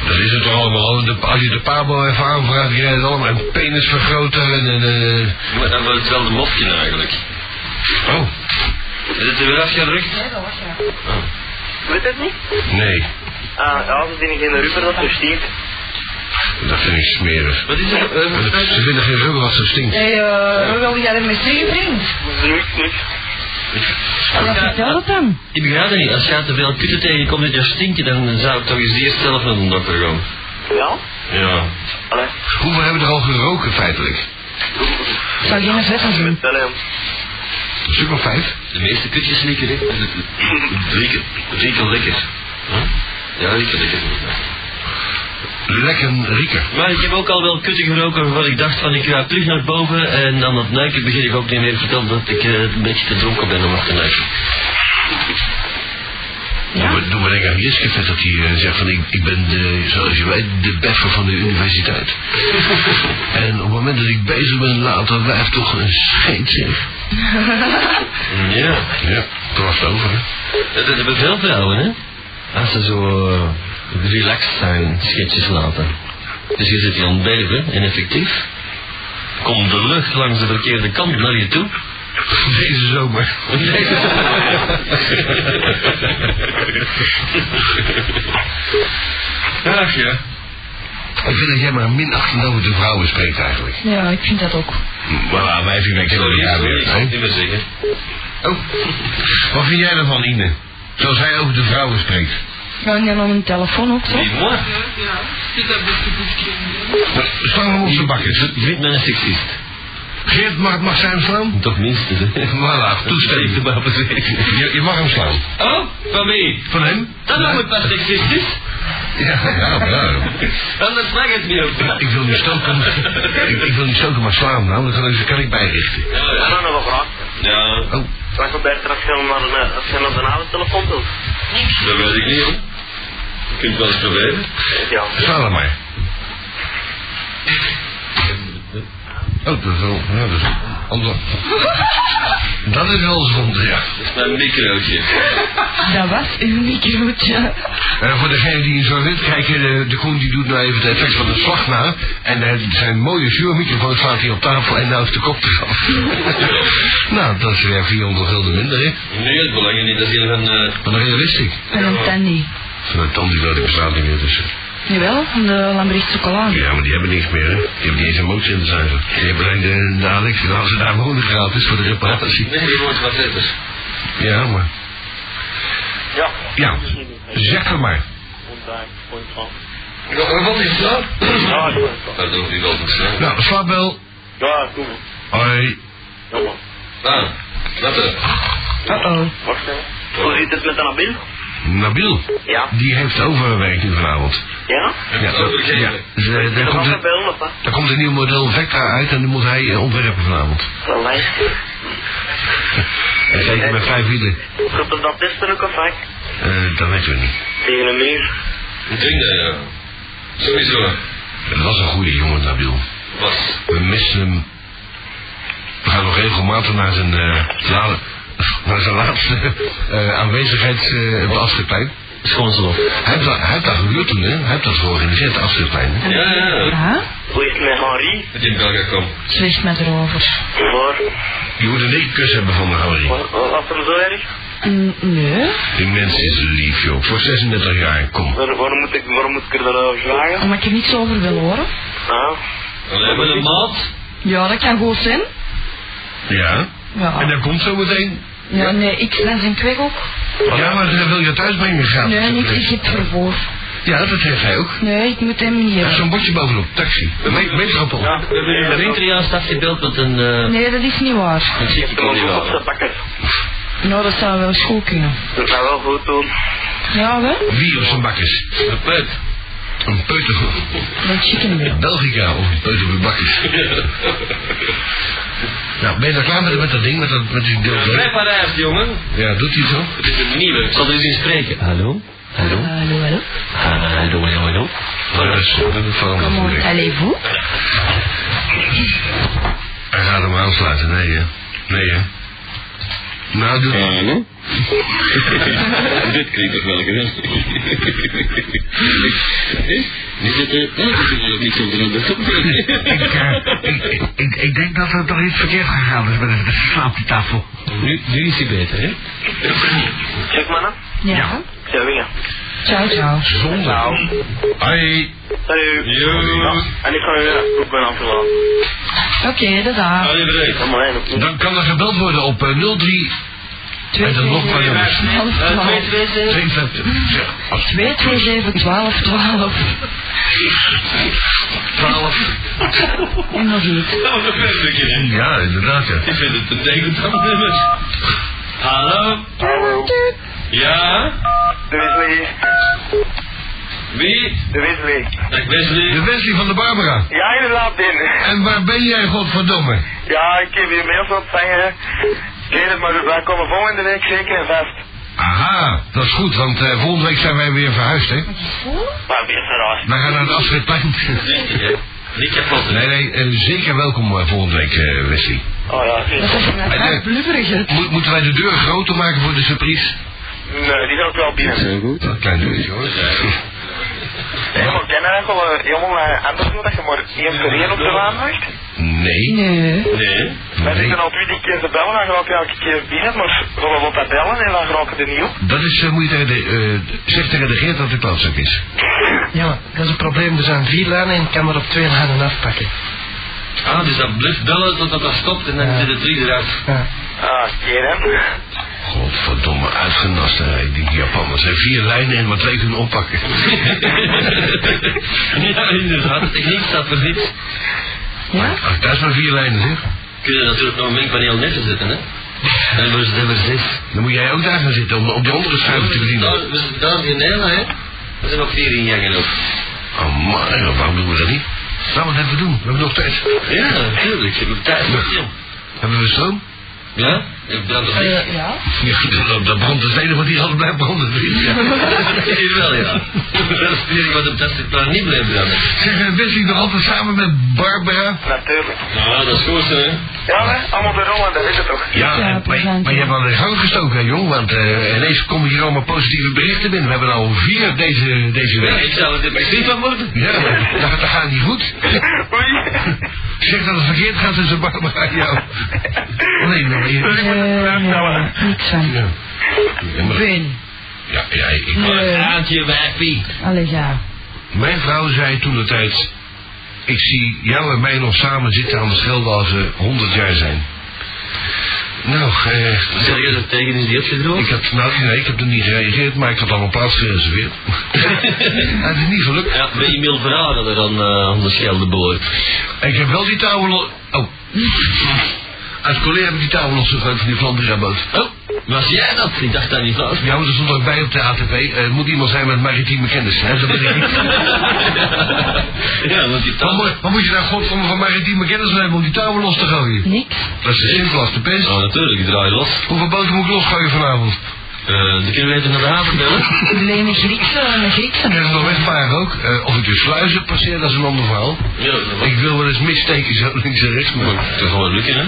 Dat is het toch allemaal. De- Als je de Pabo even aanvraagt, krijg je het allemaal een penisvergroter en een... eh,
Maar dat wordt wel de mopje eigenlijk.
Oh,
Is het er weer afgerukt?
Nee, dat was dat.
Weet het niet?
nee.
Ah, ja, ze vinden geen rubber dat ze stinkt.
Dat vind ik smerig.
Wat is het? Eh, wat is
Ze
het?
vinden geen rubber als ze stinkt.
Hey, eh, wat wilde jij ermee zeggen, vriend?
Niks, niks.
Wat vertel dat dan?
Ik begrijp het niet. Als jij te veel kutten tegenkomt en je stinkt, dan eh, zou ik toch eens eerst zelf naar de dokter gaan.
Ja?
Ja.
Allee.
Hoeveel hebben er al geroken feitelijk?
Ik zou geen vetten doen.
Vertel hem.
Een stuk of vijf?
De meeste kutjes likken, hè. Rieken, rieken lekker. Huh? Ja, rieken lekker.
Lekker rieken.
Maar ik heb ook al wel kutten geroken waarvan ik dacht van ik ga terug naar boven en dan op Nike begin ik ook niet meer verteld dat ik eh, een beetje te dronken ben om af te Nike.
Doe me- Doe me denken aan Jiske vet dat hij eh, zegt van ik, ik ben de, zoals je weet de beffer van de universiteit. en op het moment dat ik bezig ben laat dat wijf toch een scheet zeg.
Ja.
Ja, toen was het over hè.
Dat hebben veel vrouwen, hè? Als ze zo eh, relaxed zijn, schetsjes laten. Dus je zit hier aan het beven, en effectief. Komt de lucht langs de verkeerde kant naar je toe.
Deze zomer.
Ach ja.
Ik vind dat jij maar minachtend over de vrouwen spreekt eigenlijk.
Ja, ik vind dat ook.
Voilà, wij vinden ik
Sorry, sorry, ik kan het
hè?
niet meer zeggen.
Oh, wat vind jij ervan Ine? Zoals hij over de vrouwen spreekt.
Nou, en dan een telefoon ook, toch?
Niet mooi.
Nou, Slang hem op zijn bakken.
Je vindt mij een seksist.
Geert mag, mag zijn slaan?
Toch minstens, hè?
Voilà, toestemming. Je, je mag hem slaan.
Oh, van wie?
Van hem?
Dat noem ik pas seksistisch.
Ja, ja, ja.
Anders mag het niet op.
Ik wil niet stoken. Ik, ik wil niet stoken, maar slaan. Nou, dan kan ik, kan ik bijrichten. Oh.
En dan nou, nog een vraag.
Ja,
Wat gebeurt er als je naar een, als je naar een avondtelefoon doet?
dat weet ik niet, hoor. Je kunt wel eens proberen.
Ja.
Slaan hem maar. Oh, dat is wel... Ja, dat is wel ander. Dat is wel zonde, ja.
Dat is mijn microotje.
Dat was uw microotje.
Eh, voor degene die zo wit kijken, de, de Koen die doet nou even het effect van de slag na. En eh, zijn mooie vuurmicrofoon slaat hij op tafel en nou is de kop eraf. nou, dat is weer 400 gulden minder, hè.
Nee, het belang is niet dat je nog een... eh,
Wat een realistisch.
En een tandy.
Van een tand die dat bestaat niet meer dus- tussen.
Jawel, eh, van de Lambrecht chocolade.
Ja, maar die hebben niks meer, hè? Die hebben niet eens een motie in de zuiver. Die hebben alleen de, de Alex, en als ze daar wonen gratis voor de reparatie.
Nee, die wordt wat letters.
Ja, maar.
Ja.
Ja, zeg het maar.
Wat is dat?
Ja, goed.
Dat hoeft niet wel te zijn.
Nou, slaapbel.
Ja, goed.
Hoi.
Ja, man.
Ah, dat is
Uh-oh.
Wacht even. Hoe zit het met de Nabil?
Nabil.
Ja.
Die heeft overwerk nu vanavond.
Ja?
Ja, dat- ja. Dus, eh, daar,
Dat was
komt
een
een,
bel, of wat?
daar komt een nieuw model Vectra uit en die moet hij eh, ontwerpen vanavond.
Een lijst.
En zeker met vijf wielen.
Gaat er dat testen ook of wat?
Eh, dat weten we niet.
Tegen een muur.
Ik denk dat, ja. Sowieso.
Het was een goede jongen, Nabil.
Wat?
We missen hem. We gaan nog regelmatig naar zijn, eh, la- naar zijn laatste eh aanwezigheid eh, op de afschriftplein.
Schoonzelop.
Hij heeft dat- hij heeft dat gehuurd toen, hè? Hij heeft dat georganiseerd, de afschriftplein. hè?
Ja, ja, ja.
Ja,
Hoe is het met Henri?
Dat je in België komt.
zwicht Ah? met erover.
Waar?
Je moet een dikke kus hebben van de Henri.
Wa- wa- Was hem zo erg?
Mm, Nee,
Die mens is lief, joh. Voor 36 jaar, kom.
Waar, waarom, moet ik, waarom moet ik er dan over vragen?
omdat ik er niks over wil horen.
Ah.
We hebben een maat.
Ja, dat kan goed zijn.
Ja? En
Ja.
dat komt zo meteen.
Ja, nee, ik ben zijn kwek ook.
Ja, maar dat wil je thuis brengen, gaat.
Nee, niet, ik heb vervoer.
Ja, dat heeft hij ook.
Nee, ik moet hem niet
Er is
hebben.
zo'n bordje bovenop, taxi. Me- Meetrappel.
Ja, dat is
Er hangt er juist afgebeeld met een... eh
Nee, dat is niet waar.
een chique
Kom op
kandidaat.
zijn bakker.
Nou, dat zou wel school kunnen.
Dat zou wel goed doen.
Ja, wel?
Wie op zijn bakkers?
Een puit.
Een peuter.
Dat chicken wil.
Belgica of een peuter met bakkers. nou, ben je daar klaar met, met dat ding, met, dat, met die deel?
Vrij Parijs, jongen.
Ja, doet hij zo?
Het is een nieuwe. Ik zal er eens in spreken. Hallo? Hallo?
Hallo, hallo.
Hallo, hallo, hallo.
Maar dat is dat is veranderd.
Comment
denk ik.
allez-vous?
Hij gaat hem aansluiten, nee hè. Nee hè. Nou, doe
Hallo? Eh, Dit klinkt toch wel geweldig. Is het... Ik wil het niet zo
Ik, eh, ik, ik- ik, ik denk dat er toch iets verkeerd gegaan is met de slaaptafel.
Nu, nu is hij beter, hè?
Check mannen.
Ja.
Ja, wingen.
Ciao, ciao.
zonde. Hoi.
Salut.
Yo.
En ik ga weer naar Ik ben afgeladen.
Oké, dat is haar.
Allee, bedankt.
Helemaal heen opnieuw.
Dan kan er gebeld worden op eh, 03
Twee,
en dan nog maar jongens.
Half twaalf.
52, zeg, als
2, 2, 7, 12, 12.
12.
En nog iets.
Nou, dat ben ik hè?
Ja, inderdaad ja.
Ik vind het een tegenstand nummers. Hallo?
Hallo.
Ja?
De Wesley.
Wie?
De Wesley.
Ik Wesley.
De Wesley van de Barbara.
Ja, inderdaad, in.
En waar ben jij, godverdomme?
Ja, ik heb je mails ontvangen. Ik weet het, maar wij komen volgende week zeker en vast.
Aha, dat is goed, want eh, volgende week zijn wij weer verhuisd, hè?
Maar weer verrast.
Wij gaan naar het afscheidplein.
Ik heb wat
Nee, nee, eh, zeker welkom eh, volgende week, eh, Wesley.
Oh ja,
Dat is een
Hij
raar
denkt-
blubberig. hè.
Moet- moeten wij de deur groter maken voor de surprise?
nee, die gaat wel binnen.
Goed. Een klein deurtje, hoor.
Ja, maar ken je eigenlijk wel een helemaal eh, anders doen dat je maar één per één op de waan maakt?
Nee.
Nee.
Nee.
Wij
nee.
zitten al twintig keer te bellen, dan gaat je elke keer binnen, maar we wat dat bellen en dan raken we er niet op.
Dat is, eh, moet je tegen de, eh, zeg tegen de Geert dat het klootzak is.
Ja, maar dat is een probleem. Er zijn vier lijnen en ik kan maar op twee lijnen afpakken.
Ah, dus dat blijft bellen totdat dat stopt en dan
Ja.
zit het drie eraf.
Ja.
Ah, keer hè.
Godverdomme, uitgenast, hè, die Japanners. hè. Vier lijnen en maar twee kunnen oppakken.
ja, inderdaad. De techniek staat voor niets.
Ja?
Ach, dat is maar vier lijnen, zeg.
Kun je natuurlijk nog een mengpaneel netten zetten, hè? Dan hebben ze er zes.
Dan moet jij ook daar gaan zitten om, om die andere schuiven te bedienen.
Daar- We zitten daar in Nederland, hè? Er zijn nog vier in Jangen op.
Oh man, waarom doen we dat niet? Laten we het even doen, we hebben nog tijd.
Ja, natuurlijk. Je hebt tijd voor veel.
Hebben we stroom?
Ja? Ik ben er niet.
Eh, Ja.
Ja, dat, dat brandt het enige wat hier altijd blijft branden. vriend, Ja.
Hier wel, ja. Dat is het enige wat op dat stuk plan niet blijft dan.
Zeg, eh, Wesley nog altijd samen met Barbara?
Natuurlijk.
Nou, dat is goed, hè?
Ja, hè, allemaal de rollen, dat weet je toch.
Ja,
Ja,
en- maar,
present,
maar je
ja.
hebt al de gang gestoken, hè, jong. Want eh, ineens komen hier allemaal positieve berichten binnen. We hebben er al vier deze, deze
Ja,
week.
ik zou er misschien van worden.
Ja, dat, dat gaat niet goed.
Oei.
Zeg dat het verkeerd gaat tussen Barbara en jou. Nee, nou, je...
Nee, nee, niks van.
Ja, Ja, maar-
Ben.
ja, ja, ik...
Maar
Nee.
een aantje, wijfie.
Allee, ja.
Mijn vrouw zei toen de tijd. Ik zie jou en mij nog samen zitten aan de schelde als we 100 jaar zijn. Nou, eh,
Zeg je dat tegen is die opgedroogd?
ik had, nou, nee, ik heb er niet gereageerd, maar ik had al een plaats gereserveerd. Het is niet gelukt.
Ja, ben je mild verraden er aan, eh, aan de Scheldeboord?
Ik heb wel die touwen los. Oh. Als collega heb ik die touwen losgegooid van die Vlaanderen-boot.
Oh, was jij dat? Ik dacht dat niet vast.
Ja, maar er stond ook bij op de ATV. eh, Het moet iemand zijn met maritieme kennis. Hè? Dat ben ik niet.
ja, want die
Wat, moet- wat moet je nou godverdomme van maritieme kennis hebben om die touwen los te gooien?
Niks.
Dat is simpel als de pest.
Oh, natuurlijk, ik draai los.
Hoeveel boten moet ik losgooien vanavond?
Eh, dan kunnen we even naar de haven bellen.
Alleen een Griekse, een Griekse.
Ik heb het nog wegvaren ook. Eh, of ik de sluizen passeer, dat is een ander verhaal.
Ja, dat mag.
Ik wil wel eens missteken, zo links en rechts. Maar
Dat gaat wel lukken, hè?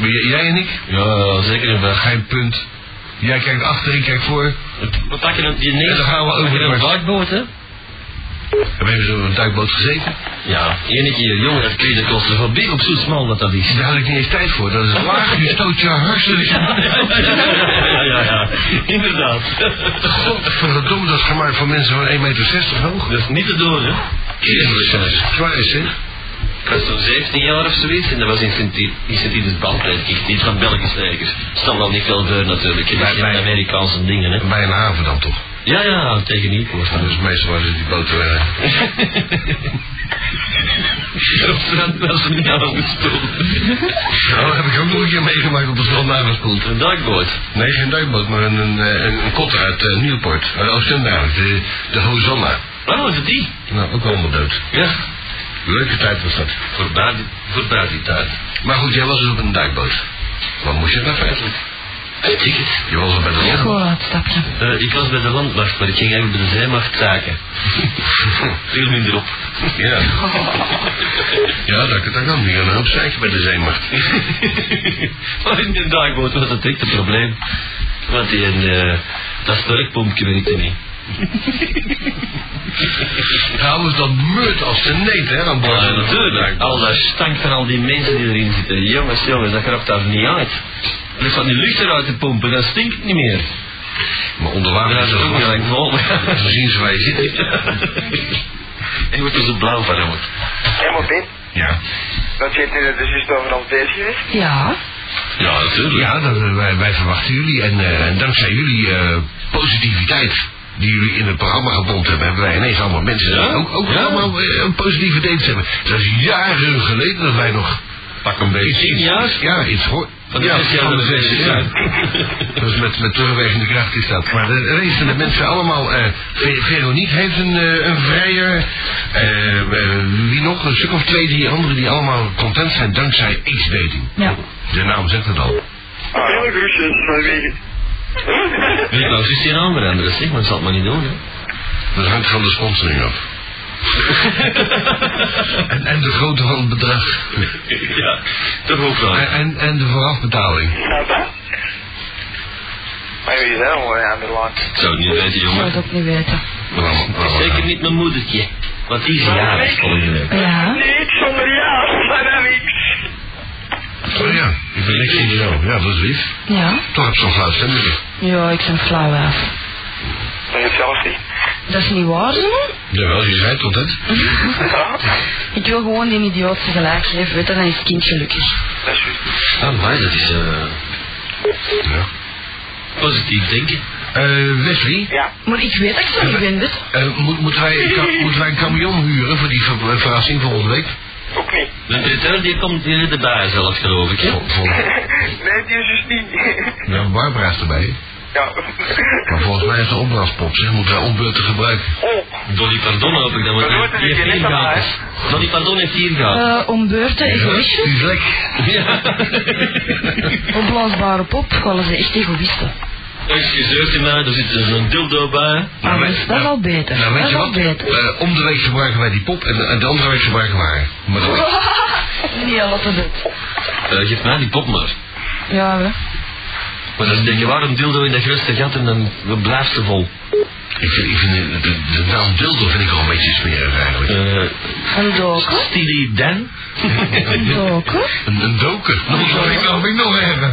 Maar j- jij en ik?
Ja, zeker en vast.
Geen punt. Jij kijkt achter, ik kijk voor.
We pakken het die neer.
En dan gaan we over de
een
markt.
vakboot, hè?
We hebben zo op een duikboot gezeten.
Ja, ene keer, jongen, dat kreeg de claustrofobie op zo'n smal wat dat is.
Daar had ik niet eens tijd voor. Dat is laag, je stoot je hartstikke.
ja, ja, ja. Inderdaad.
Godverdomme, dat is gemaakt van mensen van 1,60 meter hoog.
Dat is Dus niet te doen, hè?
Jezus, dat is zwaar is, hè?
Ik was toen 17 jaar of zoiets en dat was in Sint-Idus Bandwerk, niet van Belgisch leger. Stel al niet veel voor natuurlijk, dat
Bij-
zijn
bij-
Amerikaanse dingen, hè.
Bij een haven dan toch?
Ja, ja, Nou, tegen Nieuwpoort.
Dus meestal was het die boot weg.
Op strand was het niet afgespeeld.
Nou, dat heb ik ook nog een keer meegemaakt op de strand nagespoeld.
Een duikboot.
Nee, geen duikboot, maar een, een, eh, een, een kotter uit eh, Nieuwpoort. Uh, Oostende eigenlijk, de, de Hosanna.
Oh, is het die?
Nou, ook allemaal dood.
Ja.
Leuke tijd was dat.
Voorbij die, voorbij die tijd.
Maar goed, jij was dus op een duikboot. Wat moest je nou feitelijk?
Weet ik het.
Je was al bij de land.
Gewoon aan het stapje.
Eh, ik was bij de landmacht, maar ik ging eigenlijk bij de zijmacht taken. Veel minder op.
Ja. Ja, dat, dat kan. Die gaan een hoop zeikje bij de zeemacht.
maar in de duikboot was dat echt een probleem. Want die, eh dat sterkpompje werkte niet.
Trouwens, dat meurt als de neet, hè, aan boord.
Ja, natuurlijk. Al dat stank van al die mensen die erin zitten. Jongens, jongens, dat grapt daar niet uit. Dus van die lucht eruit te pompen, dat stinkt niet meer.
Maar onder water
Ja,
is
dat
dat
ook niet lang vol.
lastig. Zo zien ze waar je zit.
Ik word er zo blauw van, jongen.
Hé, maar Pim,
Ja.
dat je het nu dus juist over ons bezig geweest?
Ja.
Ja, natuurlijk.
Ja, dat, eh, wij, wij verwachten jullie. En eh, dankzij jullie eh, positiviteit die jullie in het programma gepompt hebben, hebben wij ineens allemaal mensen die
Ja?
ook, ook
Ja.
allemaal eh, een positieve dates hebben. Dat is jaren geleden dat wij nog... Pak een beetje.
Tien jaar?
Ja, iets hoor.
Van de
ja,
zes jaar
van de
naar de
zes
zes
ja. Dus met, met terugwegende kracht is dat. Maar de rest van de mensen allemaal... eh, Ve- Veronique heeft een, eh, een vrijer. Eh, eh, wie nog? Een stuk of twee, drie anderen die allemaal content zijn dankzij X-dating.
Ja.
De naam zegt het al.
Veel groetjes vanwege...
Wie nou is die naam veranderen, zeg maar, dat zal het maar niet doen, hè.
Dat hangt van de sponsoring af. en, en de grootte van het bedrag.
Ja, dat ook wel.
En, en, en de voorafbetaling.
Ah, Maar wie is dat hoor aan de lijn?
Ik zou het niet weten,
Ik zou
jongen.
het ook niet weten.
Waarom- waarom-
Zeker niet mijn moedertje. Want die is jarig volgende week.
Ja.
Niks zonder jou, maar dan niks.
Oh ja, ik ben niks in jou. Ja, dat is lief.
Ja.
Toch heb je zo'n flauw stemmetje.
Ja, ik ben flauw af.
Nee, het zelfs niet.
Dat is niet waar, zo.
Jawel, je zei tot het.
Ah.
Ik wil gewoon die idioot gelijk geven, weet je, dan is het kind gelukkig.
Dat is juist.
Ah, maar dat is eh
Ja.
positief denken.
Eh, Wesley,
Ja.
Maar ik weet dat ik zo niet ben, weet je.
eh, moet, moeten, wij, een ka- moeten wij een camion huren voor die ver- verrassing volgende week?
Ook niet.
De directeur die komt hier erbij zelf, geloof ik, hè.
Vol- vol-
Nee, die is juist niet.
ja, Barbara is erbij.
Ja.
Maar volgens mij is de opblaaspop, zeg, moeten wij ombeurten gebruiken.
Oh,
Dolly Pardon hoop ik dat
Maar
we
nooit
die heeft
heb je
hier
net aan
gehad. Dolly Pardon heeft hier gehad.
Eh, om beurten egoïsten.
Die vlek.
Ja.
Opblaasbare pop, vallen ze echt egoïsten.
Excuseert u mij, er zit dus een dildo bij.
Maar dat is dat is al beter.
Nou,
dat
weet
is
je
al
wat?
beter.
Eh, om de week gebruiken wij die pop en eh, de andere week gebruiken we haar. Maar dat-
Nee, al te dit.
Eh, geef mij die pop maar.
Ja, hè.
Maar dan denk je, waarom dildo in dat grootste gat en dan blijft ze vol.
Ik vind, ik vind de, de, de naam dildo vind ik al een beetje smerig eigenlijk.
Eh,
Een doken.
Steely Dan?
Een doken.
Een, een doker. Dat zou ik nog, ik nog hebben.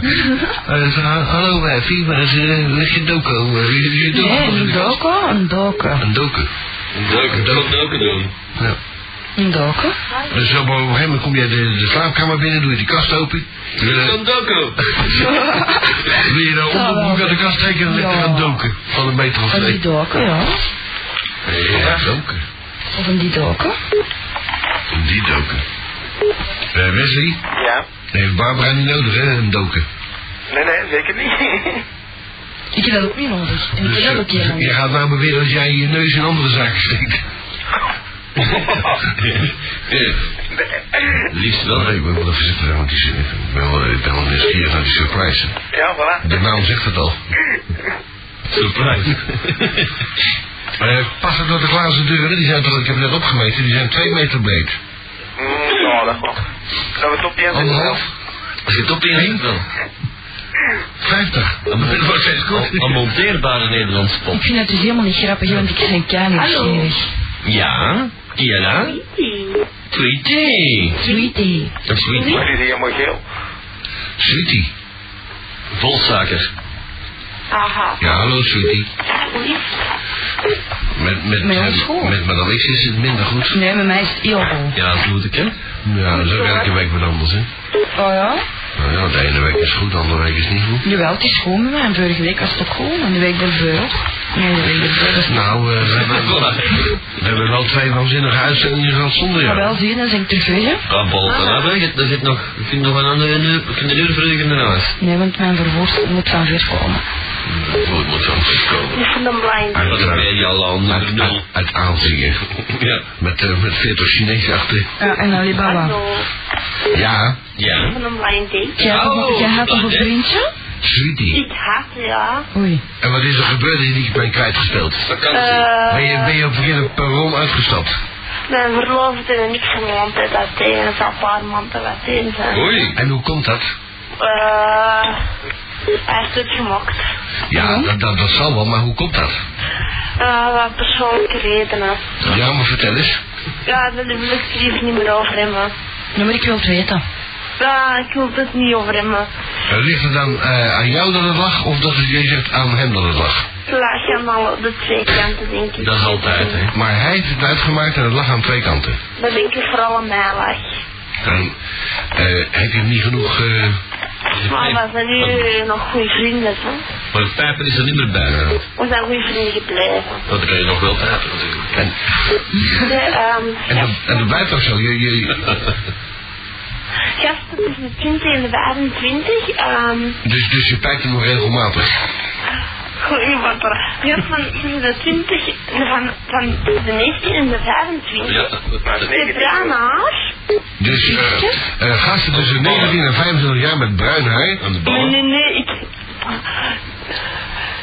Eh, zo, hallo, eh, Fiba, is eh, leg je doko. eh, is- is je doko
Nee,
onder
een
de kast?
doken. Een doken.
Een doker.
Leuke, dat ook doen.
Ja.
Een doken.
Dus zo, maar op een gegeven moment kom jij de, de slaapkamer binnen, doe je die kast open. Wil je,
Sandoko.
wil je nou onderbroek uit de kast trekken en ligt er een
Ja.
doker. Van een meter of
Een die
twee.
doken, ja.
Ja, een doker.
Of een die doken.
Die doker. Eh, Wesley?
ja.
Nee, heeft Barbara niet nodig, hè, een doker.
Nee, nee, zeker niet.
Ik heb dat ook niet nodig. En ik
Dus,
heb dat ook niet
eh, je
nodig.
gaat nou beweren dat jij je neus in andere zaken steekt.
Liefst wel.
Nee, ik ben wel even zitten, want die zin ik ben wel, ik ben wel nieuwsgierig naar die surprise.
Ja, voilà.
De naam zegt het al.
Surprise.
Eh, pas het door de glazen deuren, die zijn toch, ik heb net opgemeten, die zijn twee meter breed.
Mm, nou, dat klopt. Dat we het op je
Anderhalf,
Als je het op inhangt wel.
vijftig.
Dat wordt steeds goed. Een monteerbare Nederlandse pop.
Ik vind het dus helemaal niet grappig, want ik ben kei nieuwsgierig.
Ja. Kiana. Tweetie.
Sweetie.
Een sweetie.
Maar die is helemaal geel.
Sweetie.
Volzaker.
Aha.
Ja, hallo Sweetie. Met, met,
Met ons
eh,
school.
met Madame X is het minder goed.
Nee, bij mij is het heel bol.
Ja, dat moet ik hè.
Ja, zo elke week wat anders, hè.
Oh ja?
Nou ja, de ene week is goed, de andere week is niet goed.
Jawel, het is gewoon bij mij. En vorige week was het ook gewoon. En de week daarvoor ook. Nee, dat is
Nou, eh, we, hebben, we hebben wel twee waanzinnige uitzendingen gehad zonder
Maar wel
jou.
zie je, dan zing ik terug weg, hè?
Ah, bol, dan heb ik het. Er zit nog, ik vind nog een andere uur, ik vind een uur vroeger in de huis.
Nee, want mijn verwoord moet van ver komen.
Goed, moet zo goed komen.
Ik vind hem blind.
Dat is media land, dat is nul.
Uit aanzingen.
Ja.
Met, eh, met 40 Chinezen achter.
Ja, en Alibaba.
Hallo.
Ja,
Ik
Ja.
vind hem blind, hè.
Jij hebt nog-
Oh,
jij hebt nog een
dat is-
vriendje?
sweetie.
Ik haat, ja.
Oei.
En wat is er gebeurd dat je niet bent kwijtgespeeld?
Vakantie.
Ben je, ben
Eh,
je op het verkeerde perron uitgestapt?
mijn verloofde en ik zijn een tijd uiteen. Dat is al een paar maanden uiteen zijn.
Oei.
En hoe komt dat?
Eh, hij heeft het gemokt.
Ja, dat, dat, dat zal wel, maar hoe komt dat?
Eh, wat persoonlijke redenen.
Ja, maar vertel eens.
Ja, daar wil ik het liever niet meer over hebben.
Nou, maar ik wil het weten.
Ja, Ah, ik wil het dus niet over hebben.
Ligt het dan eh, aan jou dat het lag, of dat het, jij zegt aan hem dat het lag?
Ze lachen allemaal op de twee kanten, denk ik.
Dat is altijd, hè.
Maar hij heeft het uitgemaakt en het lag aan twee kanten.
Dat denk ik vooral aan mij lag.
Dan eh, heb je hem niet genoeg... eh,
Maar we zijn nu nog goede vrienden, hè.
Maar het pijpen is er niet meer bij. hè.
We zijn goede vrienden gebleven.
Want dan kan je nog wel pijpen natuurlijk.
en,
Nee, ehm,
en, dat, en dat blijft toch zo? Je, je,
gasten tussen de 20 en de 25, ehm,
dus, dus je pijpt hem nog regelmatig?
Goeie wat er. Ja, van tussen de 20, van, van tussen de 19 en de 25.
Oh Ja, dat maakt het
De bruine haar.
Dus eh eh, gasten tussen 19 en 25 jaar met bruin haar...
Aan de
Nee,
ballen.
nee, nee, ik.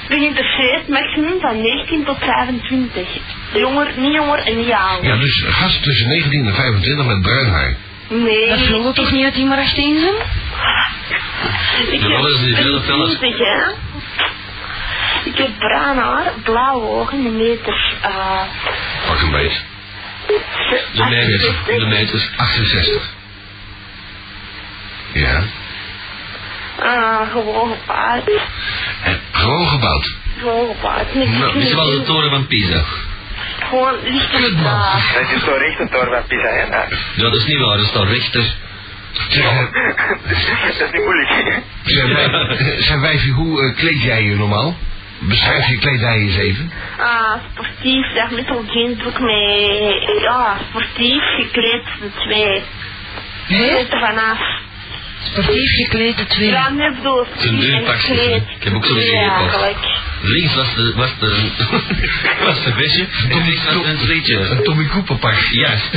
Ben geïnteresseerd maximum van 19 tot 25. Jonger, niet jonger en niet ouder.
Ja, dus gasten tussen 19 en 25 met bruin haar.
Nee.
Dat vloog toch niet uit die maar 18 zijn?
Ik
Ja, dat is niet veel,
heb
fellas.
20, hè. Ik heb bruin haar, blauwe ogen, een meter. eh
Pak een beetje.
De meters.
68.
De meters.
68. Ja.
Eh, gewoon gepaard.
En gewoon gebouwd.
Gewoon gepaard. Niks
Nou, dit is wel de
knippen.
toren van Pisa.
Gewoon licht op
Kut, man.
elkaar.
Dat is zo recht op door wat Pisa, hè? Ja.
Ja, dat is niet waar. Dat staat rechter.
Zeg, eh,
Dat is niet moeilijk.
zeg, wij- zeg wijfie, hoe eh, kleed jij je normaal? Beschrijf je kledij eens even.
Ah, sportief, daar met al jeansbroek mee. Ja, sportief, gekleed, de twee.
Hé?
Zet er vanaf.
Sportief gekleed, de twee.
Ja, net door. sportief
Zijn duur
en
pakjes,
gekleed.
hè? Ik heb ook zo'n
Ja,
gepakt.
eigenlijk.
Links was de, was de, was de visje. En rechts was een frietje.
Tommy Cooper pak.
Juist.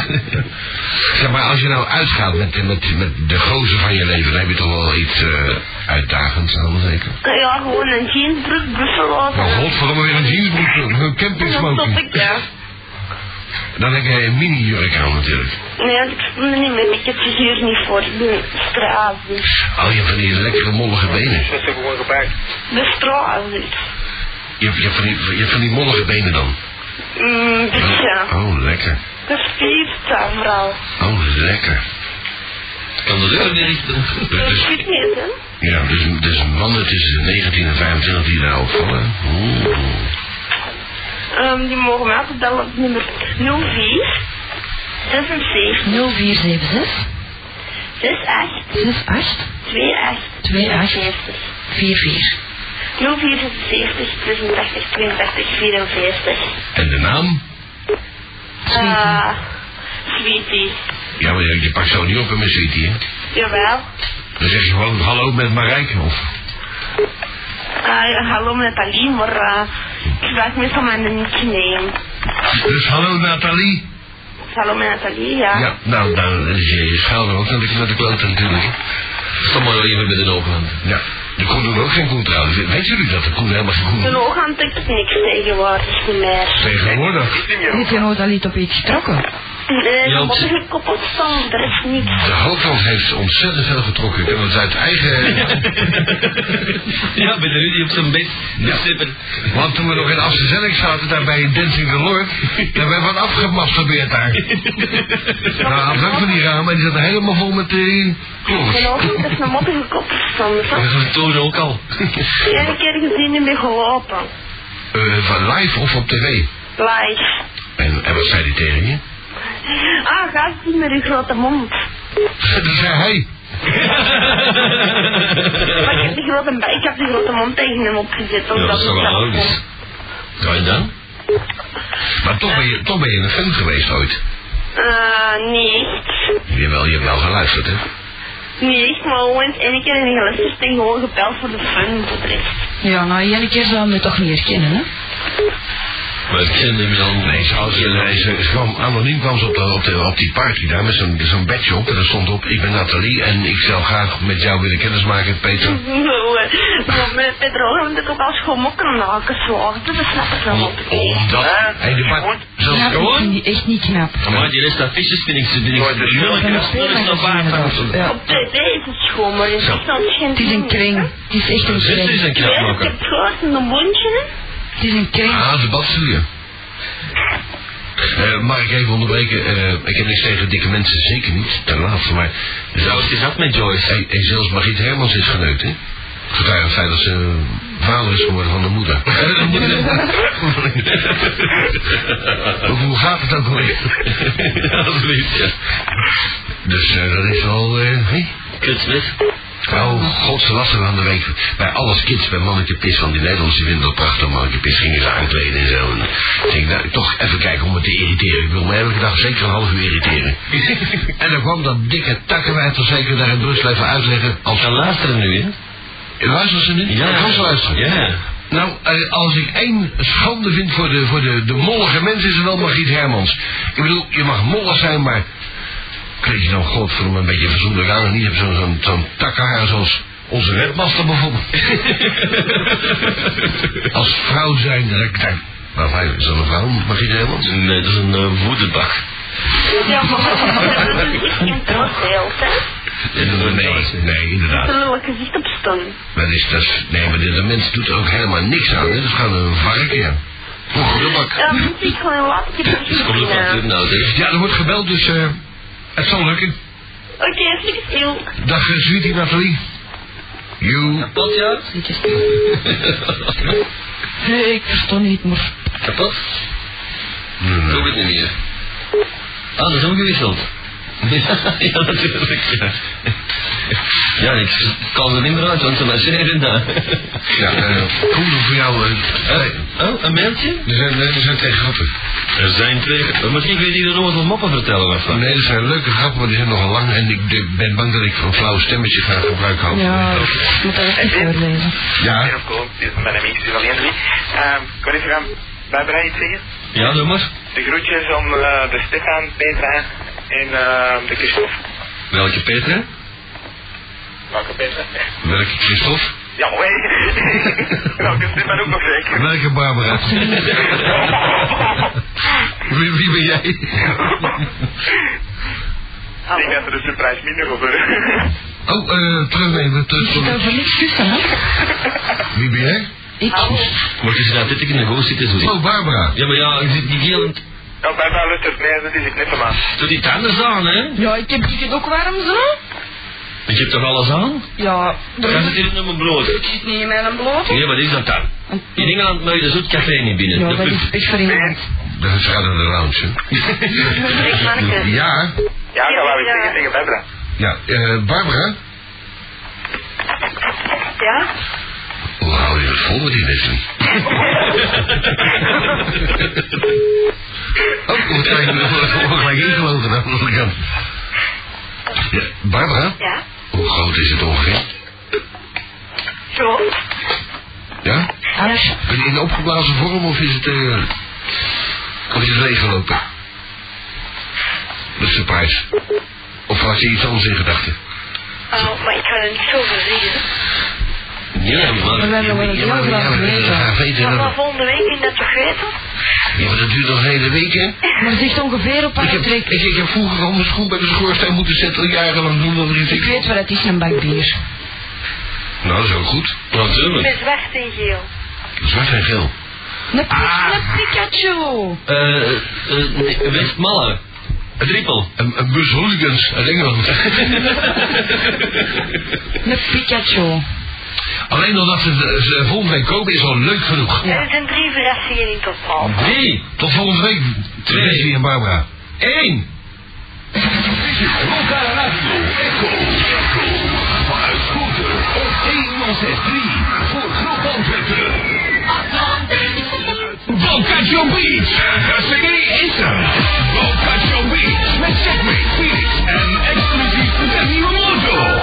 Zeg maar, als je nou uitgaat met, met, met de gozer van je leven, dan heb je toch wel iets eh, uitdagends aan, zeker?
Ja, gewoon een jeansbroek, buffalo's.
Nou,
Maar Nou, godverdomme, weer een jeansbroek, eh, een
En dan stop
campingsmoking.
ik, ja.
Dan heb jij een mini-jurk aan natuurlijk.
Nee, want ik stond er niet mee. Ik heb het hier niet voor. Ik ben straatziek.
Oh, je hebt van die lekkere mollige benen.
Dat is gewoon gebruikt.
De straatziek.
Je hebt, je hebt van, die, je hebt van die mollige benen dan.
Mm, dus ja.
Oh, lekker.
Dat is pizza, vooral.
Oh, lekker.
Kan de deur niet richten.
Dus- dus-
Ik weet niet, hè.
Ja, dus, dus mannen tussen de 19 en 25 die daar opvallen. Oeh.
Ehm, die mogen mij altijd bellen op nummer 04 76
0476 68
68 28
28 44.
04 76 86 82 44.
En de naam?
Ah, sweetie.
Ja, maar je, je pakt zo niet op in mijn city, hè?
Jawel.
Dan zeg je gewoon hallo met Marijke. Of,
Ah, ja, hallo met Ali, maar eh, ik vraag me van mijn nickname.
dus hallo Nathalie.
Hallo met Nathalie, ja.
Ja, nou, dan is je, je schuilde ook natuurlijk met de klote natuurlijk.
Stop maar even met een overhand.
Ja, de koe doet ook geen koe trouwens. Weet jullie dat de koe helemaal geen koe
Mijn
doet?
oog aan tikt niks tegenwoordig niet meer.
Tegenwoordig.
Heeft je nooit al iets op iets getrokken?
Nee,
Ja,
de
op
motten
zich-
gekoppeld staan, er is niks.
De hoofdland heeft ontzettend veel getrokken. Ik heb het uit eigen...
Ja, bij de Rudy op zijn bed.
Ja.
Ja.
Want toen we nog in Amsterdam zaten, daar bij Dancing the Lord, daar werd wat afgemasturbeerd daar. nou, had ook van die ramen en die zaten helemaal vol met eh, die kloppers.
Mijn oog is naar motten gekoppeld staan.
Dat is een toren ook al.
Ik heb een keer gezien niet meer gelopen.
Eh, van live of op tv.
Live.
En, en wat zei die tegen je?
Ah, gaat niet met uw grote mond.
Die zei hij.
Maar ik heb die grote, ik heb die grote mond tegen hem opgezet.
Ja, dat is
omdat
toch wel
ik
logisch. Kan je dan?
Maar toch ben je, toch ben je een fan geweest ooit.
Eh, niet echt.
Jawel, je hebt wel geluisterd, hè?
Niet echt, maar gewoon eens één keer in de geluisterd en gewoon gebeld voor de fun voor de rest.
Ja, nou, één keer zou me toch niet herkennen, hè?
Maar ik ken hem al.
Nee, ze, had- ze, ze- ze kwam, anoniem kwam ze op, de, op, de, op die party daar met zo'n zo'n badge op. En er stond op, ik ben Nathalie en ik zou graag met jou willen kennismaken, Peter.
Gewoon. Maar eh, met Pedro moet ik ook als gewoon mokken maken, zo. Dat snap ik wel.
Omdat...
Ah,
Hey, de bar... Zo,
Knap, ik vind die echt niet knap.
Maar die rest affiches vind ik ze vind ik
Nooit
nul- nul-
besproken.
nul-
Nog
nul-
steeds mag
nul-
ik het niet
nul-
hebben.
nul-
Ja.
Op tv is het schoon, maar in Nederland is geen
Het is een kring. Het is echt een
Dit is een
kring.
Ja, ik
knapmaker.
heb gehoord in de mondje.
Het is een kring.
Ah, de badstuur. Eh mag ik even onderbreken? Eh, ik heb niks tegen dikke mensen, zeker niet, ten laatste, maar...
Zo is het gehad met Joyce.
En, en zelfs Margriet Hermans is geneukt, hè? Vandaar het feit dat ze eh, vader is geworden van de moeder. Hoe- Hoe gaat het ook alweer?
Alsjeblieft, ja.
Dus eh, dat is wel... eh, hé?
Kutsmith.
Oh, god, ze las er aan de week. Bij alles kids, bij manneke pis, want die Nederlandse vinden dat prachtig. Manneke pis gingen ze aankleden en zo. En ik denk, nou, toch even kijken om het te irriteren. Ik wil me elke dag zeker een half uur irriteren. en dan kwam dat dikke takkenwijf toch zeker daar in Brussel even uitleggen. Als,
Dan luisteren nu, hè?
luisteren ze nu? Ik ga ze luisteren.
Ja.
Nou, eh, als ik één schande vind voor de, voor de, de mollige mensen, is het wel Margriet Hermans. Ik bedoel, je mag mollig zijn, maar... Kleed je dan nou, godverdomme een beetje verzoenlijk aan en niet op zo'n zo'n zo'n takkenhaar zoals onze webmaster bijvoorbeeld. als vrouw zijn, dan... dan maar fijn, is dat een vrouw, Margriet Hermans?
Nee, dat is een eh, woedebak.
Ja, maar dat is echt geen troostbeeld, hè.
eh,
Nee, nee, inderdaad.
Zullen we gezicht op staan?
Dat is, dat is, nee, maar de, de mens doet er ook helemaal niks aan. Hè? Dat is gewoon een varken. Oeh, de bak.
Ja, moet ik gewoon laten
Dus kom op
terugvinden.
wat nou, zeg.
Ja, er wordt gebeld, dus eh, het zal lukken.
Oké, stik stil.
Dag, eh, sweetie Nathalie. You.
Kapot, ja?
Ik is- Nee, ik verstond niet, maar...
Kapot? Doe het niet meer. Ah, dat is omgewisseld. Ja, ja, natuurlijk. Ja, ja ik kan er niet meer uit, want ze marcheren daar.
Ja, eh, cool voor jou. eh, nee,
Oh, een mailtje?
er zijn, nee, er zijn twee grappen.
Er zijn twee. Eh, Misschien weet iedereen wat moppen vertellen wat van.
Nee, er zijn leuke grappen, maar die zijn nogal lang. En ik de- ben bang dat ik een flauw stemmetje ga gebruiken. over.
Ja, ik moet dat echt voorlezen.
Ja,
Heel cool. Dit is mijn amigo van Henry. Ehm, kan ik gaan Barbara iets zeggen?
Ja, doe maar.
De groetjes om eh, de Stefan, Petra en eh, de Christophe.
Welke Petra?
Welke Petra?
welke Christophe?
Ja, hoi. Welke Stefan ook nog zeker.
Welke Barbara? wie, wie ben jij?
Ik denk dat er een surprise minder over.
Oh, eh, terugnemen.
Ik zit
Terug,
daar voor niks tussen, hè?
wie ben jij?
Ik?
Oh.
Moet je ze daar dit ik in de goot zitten zo?
Oh, Barbara.
Ja, maar ja, ik zit die heel...
Ja, Barbara luistert mee, dat is ik net aan.
Doe die tanden aan, hè?
Ja, ik heb ik het ook warm zo.
Ik heb toch alles aan?
Ja,
Dan
dat
zit hier in mijn brood.
zit niet in mijn bloot.
Nee, wat is dat dan? In Engeland mag je de zoet café niet binnen.
Ja,
Dat
dat
lukt.
is echt voor iemand.
Dat gaat naar de lounge.
Ik
hè?
manneke.
Ja.
Ja, dat wou ik
Ja.
zeggen tegen Barbara.
Ja, eh, Barbara.
Ja?
Hoe hou je het vol met die mensen? oh, wat zijn we gelijk ingelogen aan de andere kant. Ja, Barbara,
Ja?
hoe groot is het ongeveer?
Zo?
Ja?
Alles.
In, in opgeblazen vorm of is het, eh, of is het leeggelopen? De surprise. Of had je iets anders in gedachten?
Oh, maar ik kan er niet zoveel zeggen.
Ja, maar...
We hebben wel een heel graag
ja,
weten.
weten.
Maar
hè?
van volgende week kun je dat toch weten?
Ja, maar dat duurt nog een hele week, hè?
Maar zegt ongeveer op
Ik
haar
heb,
trek.
ik, ik heb vroeger al mijn schoen bij de schoorsteen moeten zetten, jarenlang doen dat er iets
Ik weet wat het is, een bak bier.
Nou, dat is ook goed.
Natuurlijk.
Met zwart en geel.
Zwart en geel.
Een, pik, een Pikachu.
Eh, eh, nee, Westmalle. Het riepel.
Een, een bus hooligans uit Engeland.
Een Pikachu.
Alleen al dat ze- ze eh, volgende week komen is al leuk genoeg.
Er zijn drie verrassingen in totaal.
Drie.
Tot volgende week,
Twee.
Tracy en Barbara. Eén!
Voor Groot Antwerpen. Boccaccio Beach, de serie is er. Boccaccio Beach met Segway, Felix en exclusief de nieuwe motor.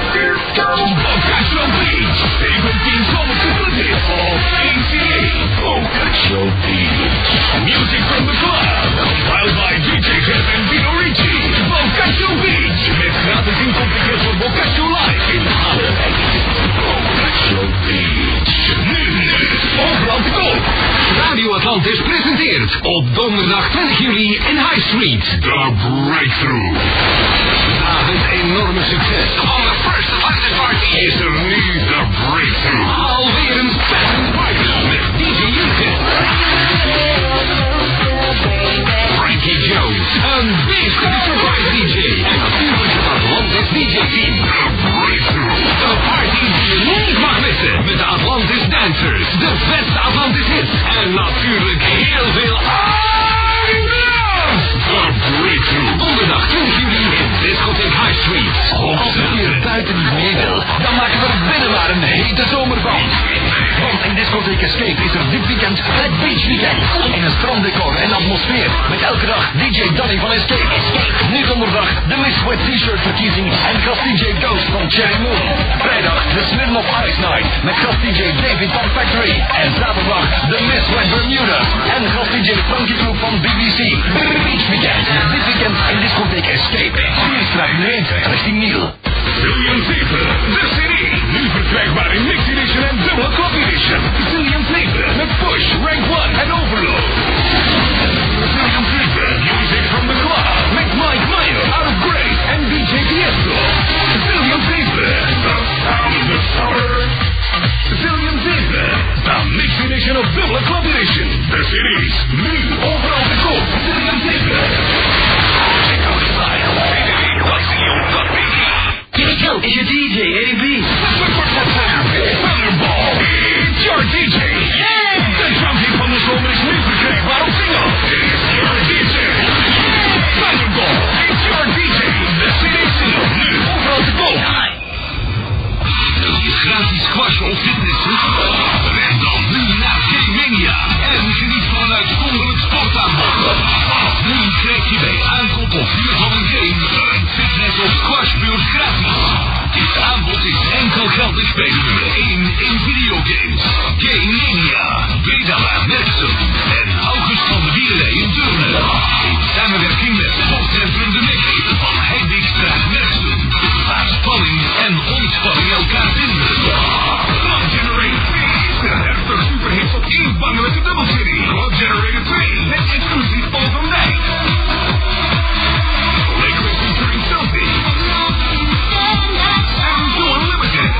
Boccaccio Beach, 17 zomerse budget op ACA. Boccaccio Beach. Music from the club, compiled by DJ Jeff en Vino Ricci. Boccaccio Beach, met gratis inkomsten voor Boccaccio Live in Harderwijk. Boccaccio Beach. Nu, nu, overal te koop. Radio Atlantis presenteert op donderdag 20 juli in High Street. The Breakthrough. David enorme succes. On the first Atlantis party is er nu The Breakthrough. Alweer een spannend party met DJ Juke. Frankie Jones, een beest met de surprise DJ. En natuurlijk het Atlantis DJ team. The Breakthrough. Een party die je niet mag missen met de Atlantis Dancers. De beste Atlantis hits. En natuurlijk heel veel Adidas. The Breakthrough. Donderdag 20 juli in Discotheek High Street. Als het hier buiten niet meer wil, dan maken we er binnen maar een hete zomer van. Want in Discotheek Escape is er dit weekend het Beach Weekend. In een stranddecor en atmosfeer. Met elke dag DJ Danny van Escape. Nu donderdag de Miss Wet T-shirt verkiezing en gast DJ Ghost van Cherry Moon. Vrijdag de Smirnoff Ice Night met gast DJ David van Factory. En zaterdag de Miss Wet Bermuda en gast DJ Funky Group van BBC. Beach Weekend. Dit weekend in Discotheek Escape. Vierstraat nu richting Niel. William 7, de serie. Nu verkrijgbaar in Mixed Edition en Dubbele Copy Edition. William 7 met Push, Rank 1 en Overload. William 7, Music from the Club. Met Mike Meyer, Out of Grace en DJ Tiesto. William 7, The Sound of Summer. William 7, de Mixed Edition of Dubbele Club Edition. De series, nu overal te koop. William 7. Check out style. www.william.be Disco is your DJ, AB. Thunderball is your DJ. Yeah. De junkie van de zomer is nu verkrijgbaar op single. Is your DJ. Thunderball is your DJ. De CD single nu overal te koop. Wil je gratis squashen of fitnessen? Ren dan nu naar G-Mania en geniet van een uitzonderlijk sportaanbod. Vanaf nu krijg je bij aankoop of huur van een game een fitness of squashbeurt gratis. Dit aanbod is enkel geldig bij de nummer 1 in videogames. G-Mania, Bedala Merksem en August van de Wierlei in Turnen. In samenwerking met Sportcentrum De Mek van Heidikstraat Merksem. Waar spanning en ontspanning elkaar vinden. Club Generate 2 de 30 superhits op één bangelijke dubbelserie. Club Generator 2 met exclusief Paul van Dijk. Lakers featuring Selfie. En Joe Unlimited.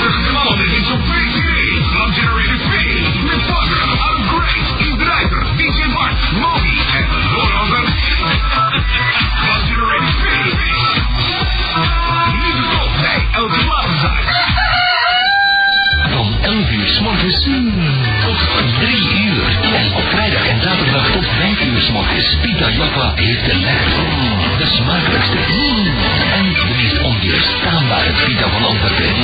30 knallen is op 2 CD's. Club Generator 2 met Flogger, Out of Grace, Yves de Rijper, DJ Bart, Moby en Laura van Club Generator 2. Nu te koop bij elke wapenzaak. Van 11 uur s'morgens tot 3 uur. En op vrijdag en zaterdag tot 5 uur s'morgens. Pita Japa heeft de lekkerste, de smakelijkste mm. en de meest onweerstaanbare pita van Antwerpen.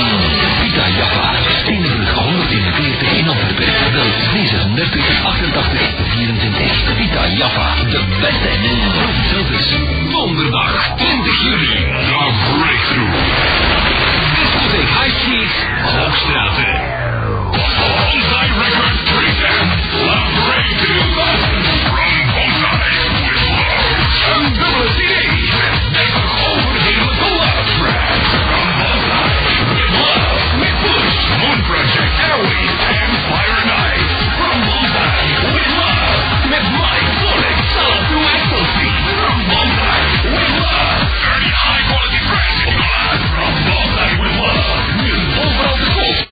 Pita Japa, Steenenburg 141 in Antwerpen. Wel 36 88 24. Pita Japa, de beste. Proef het zelf eens. Donderdag 20 juli. De Breakthrough. Discotheek High Street, Hoogstraten.
eh,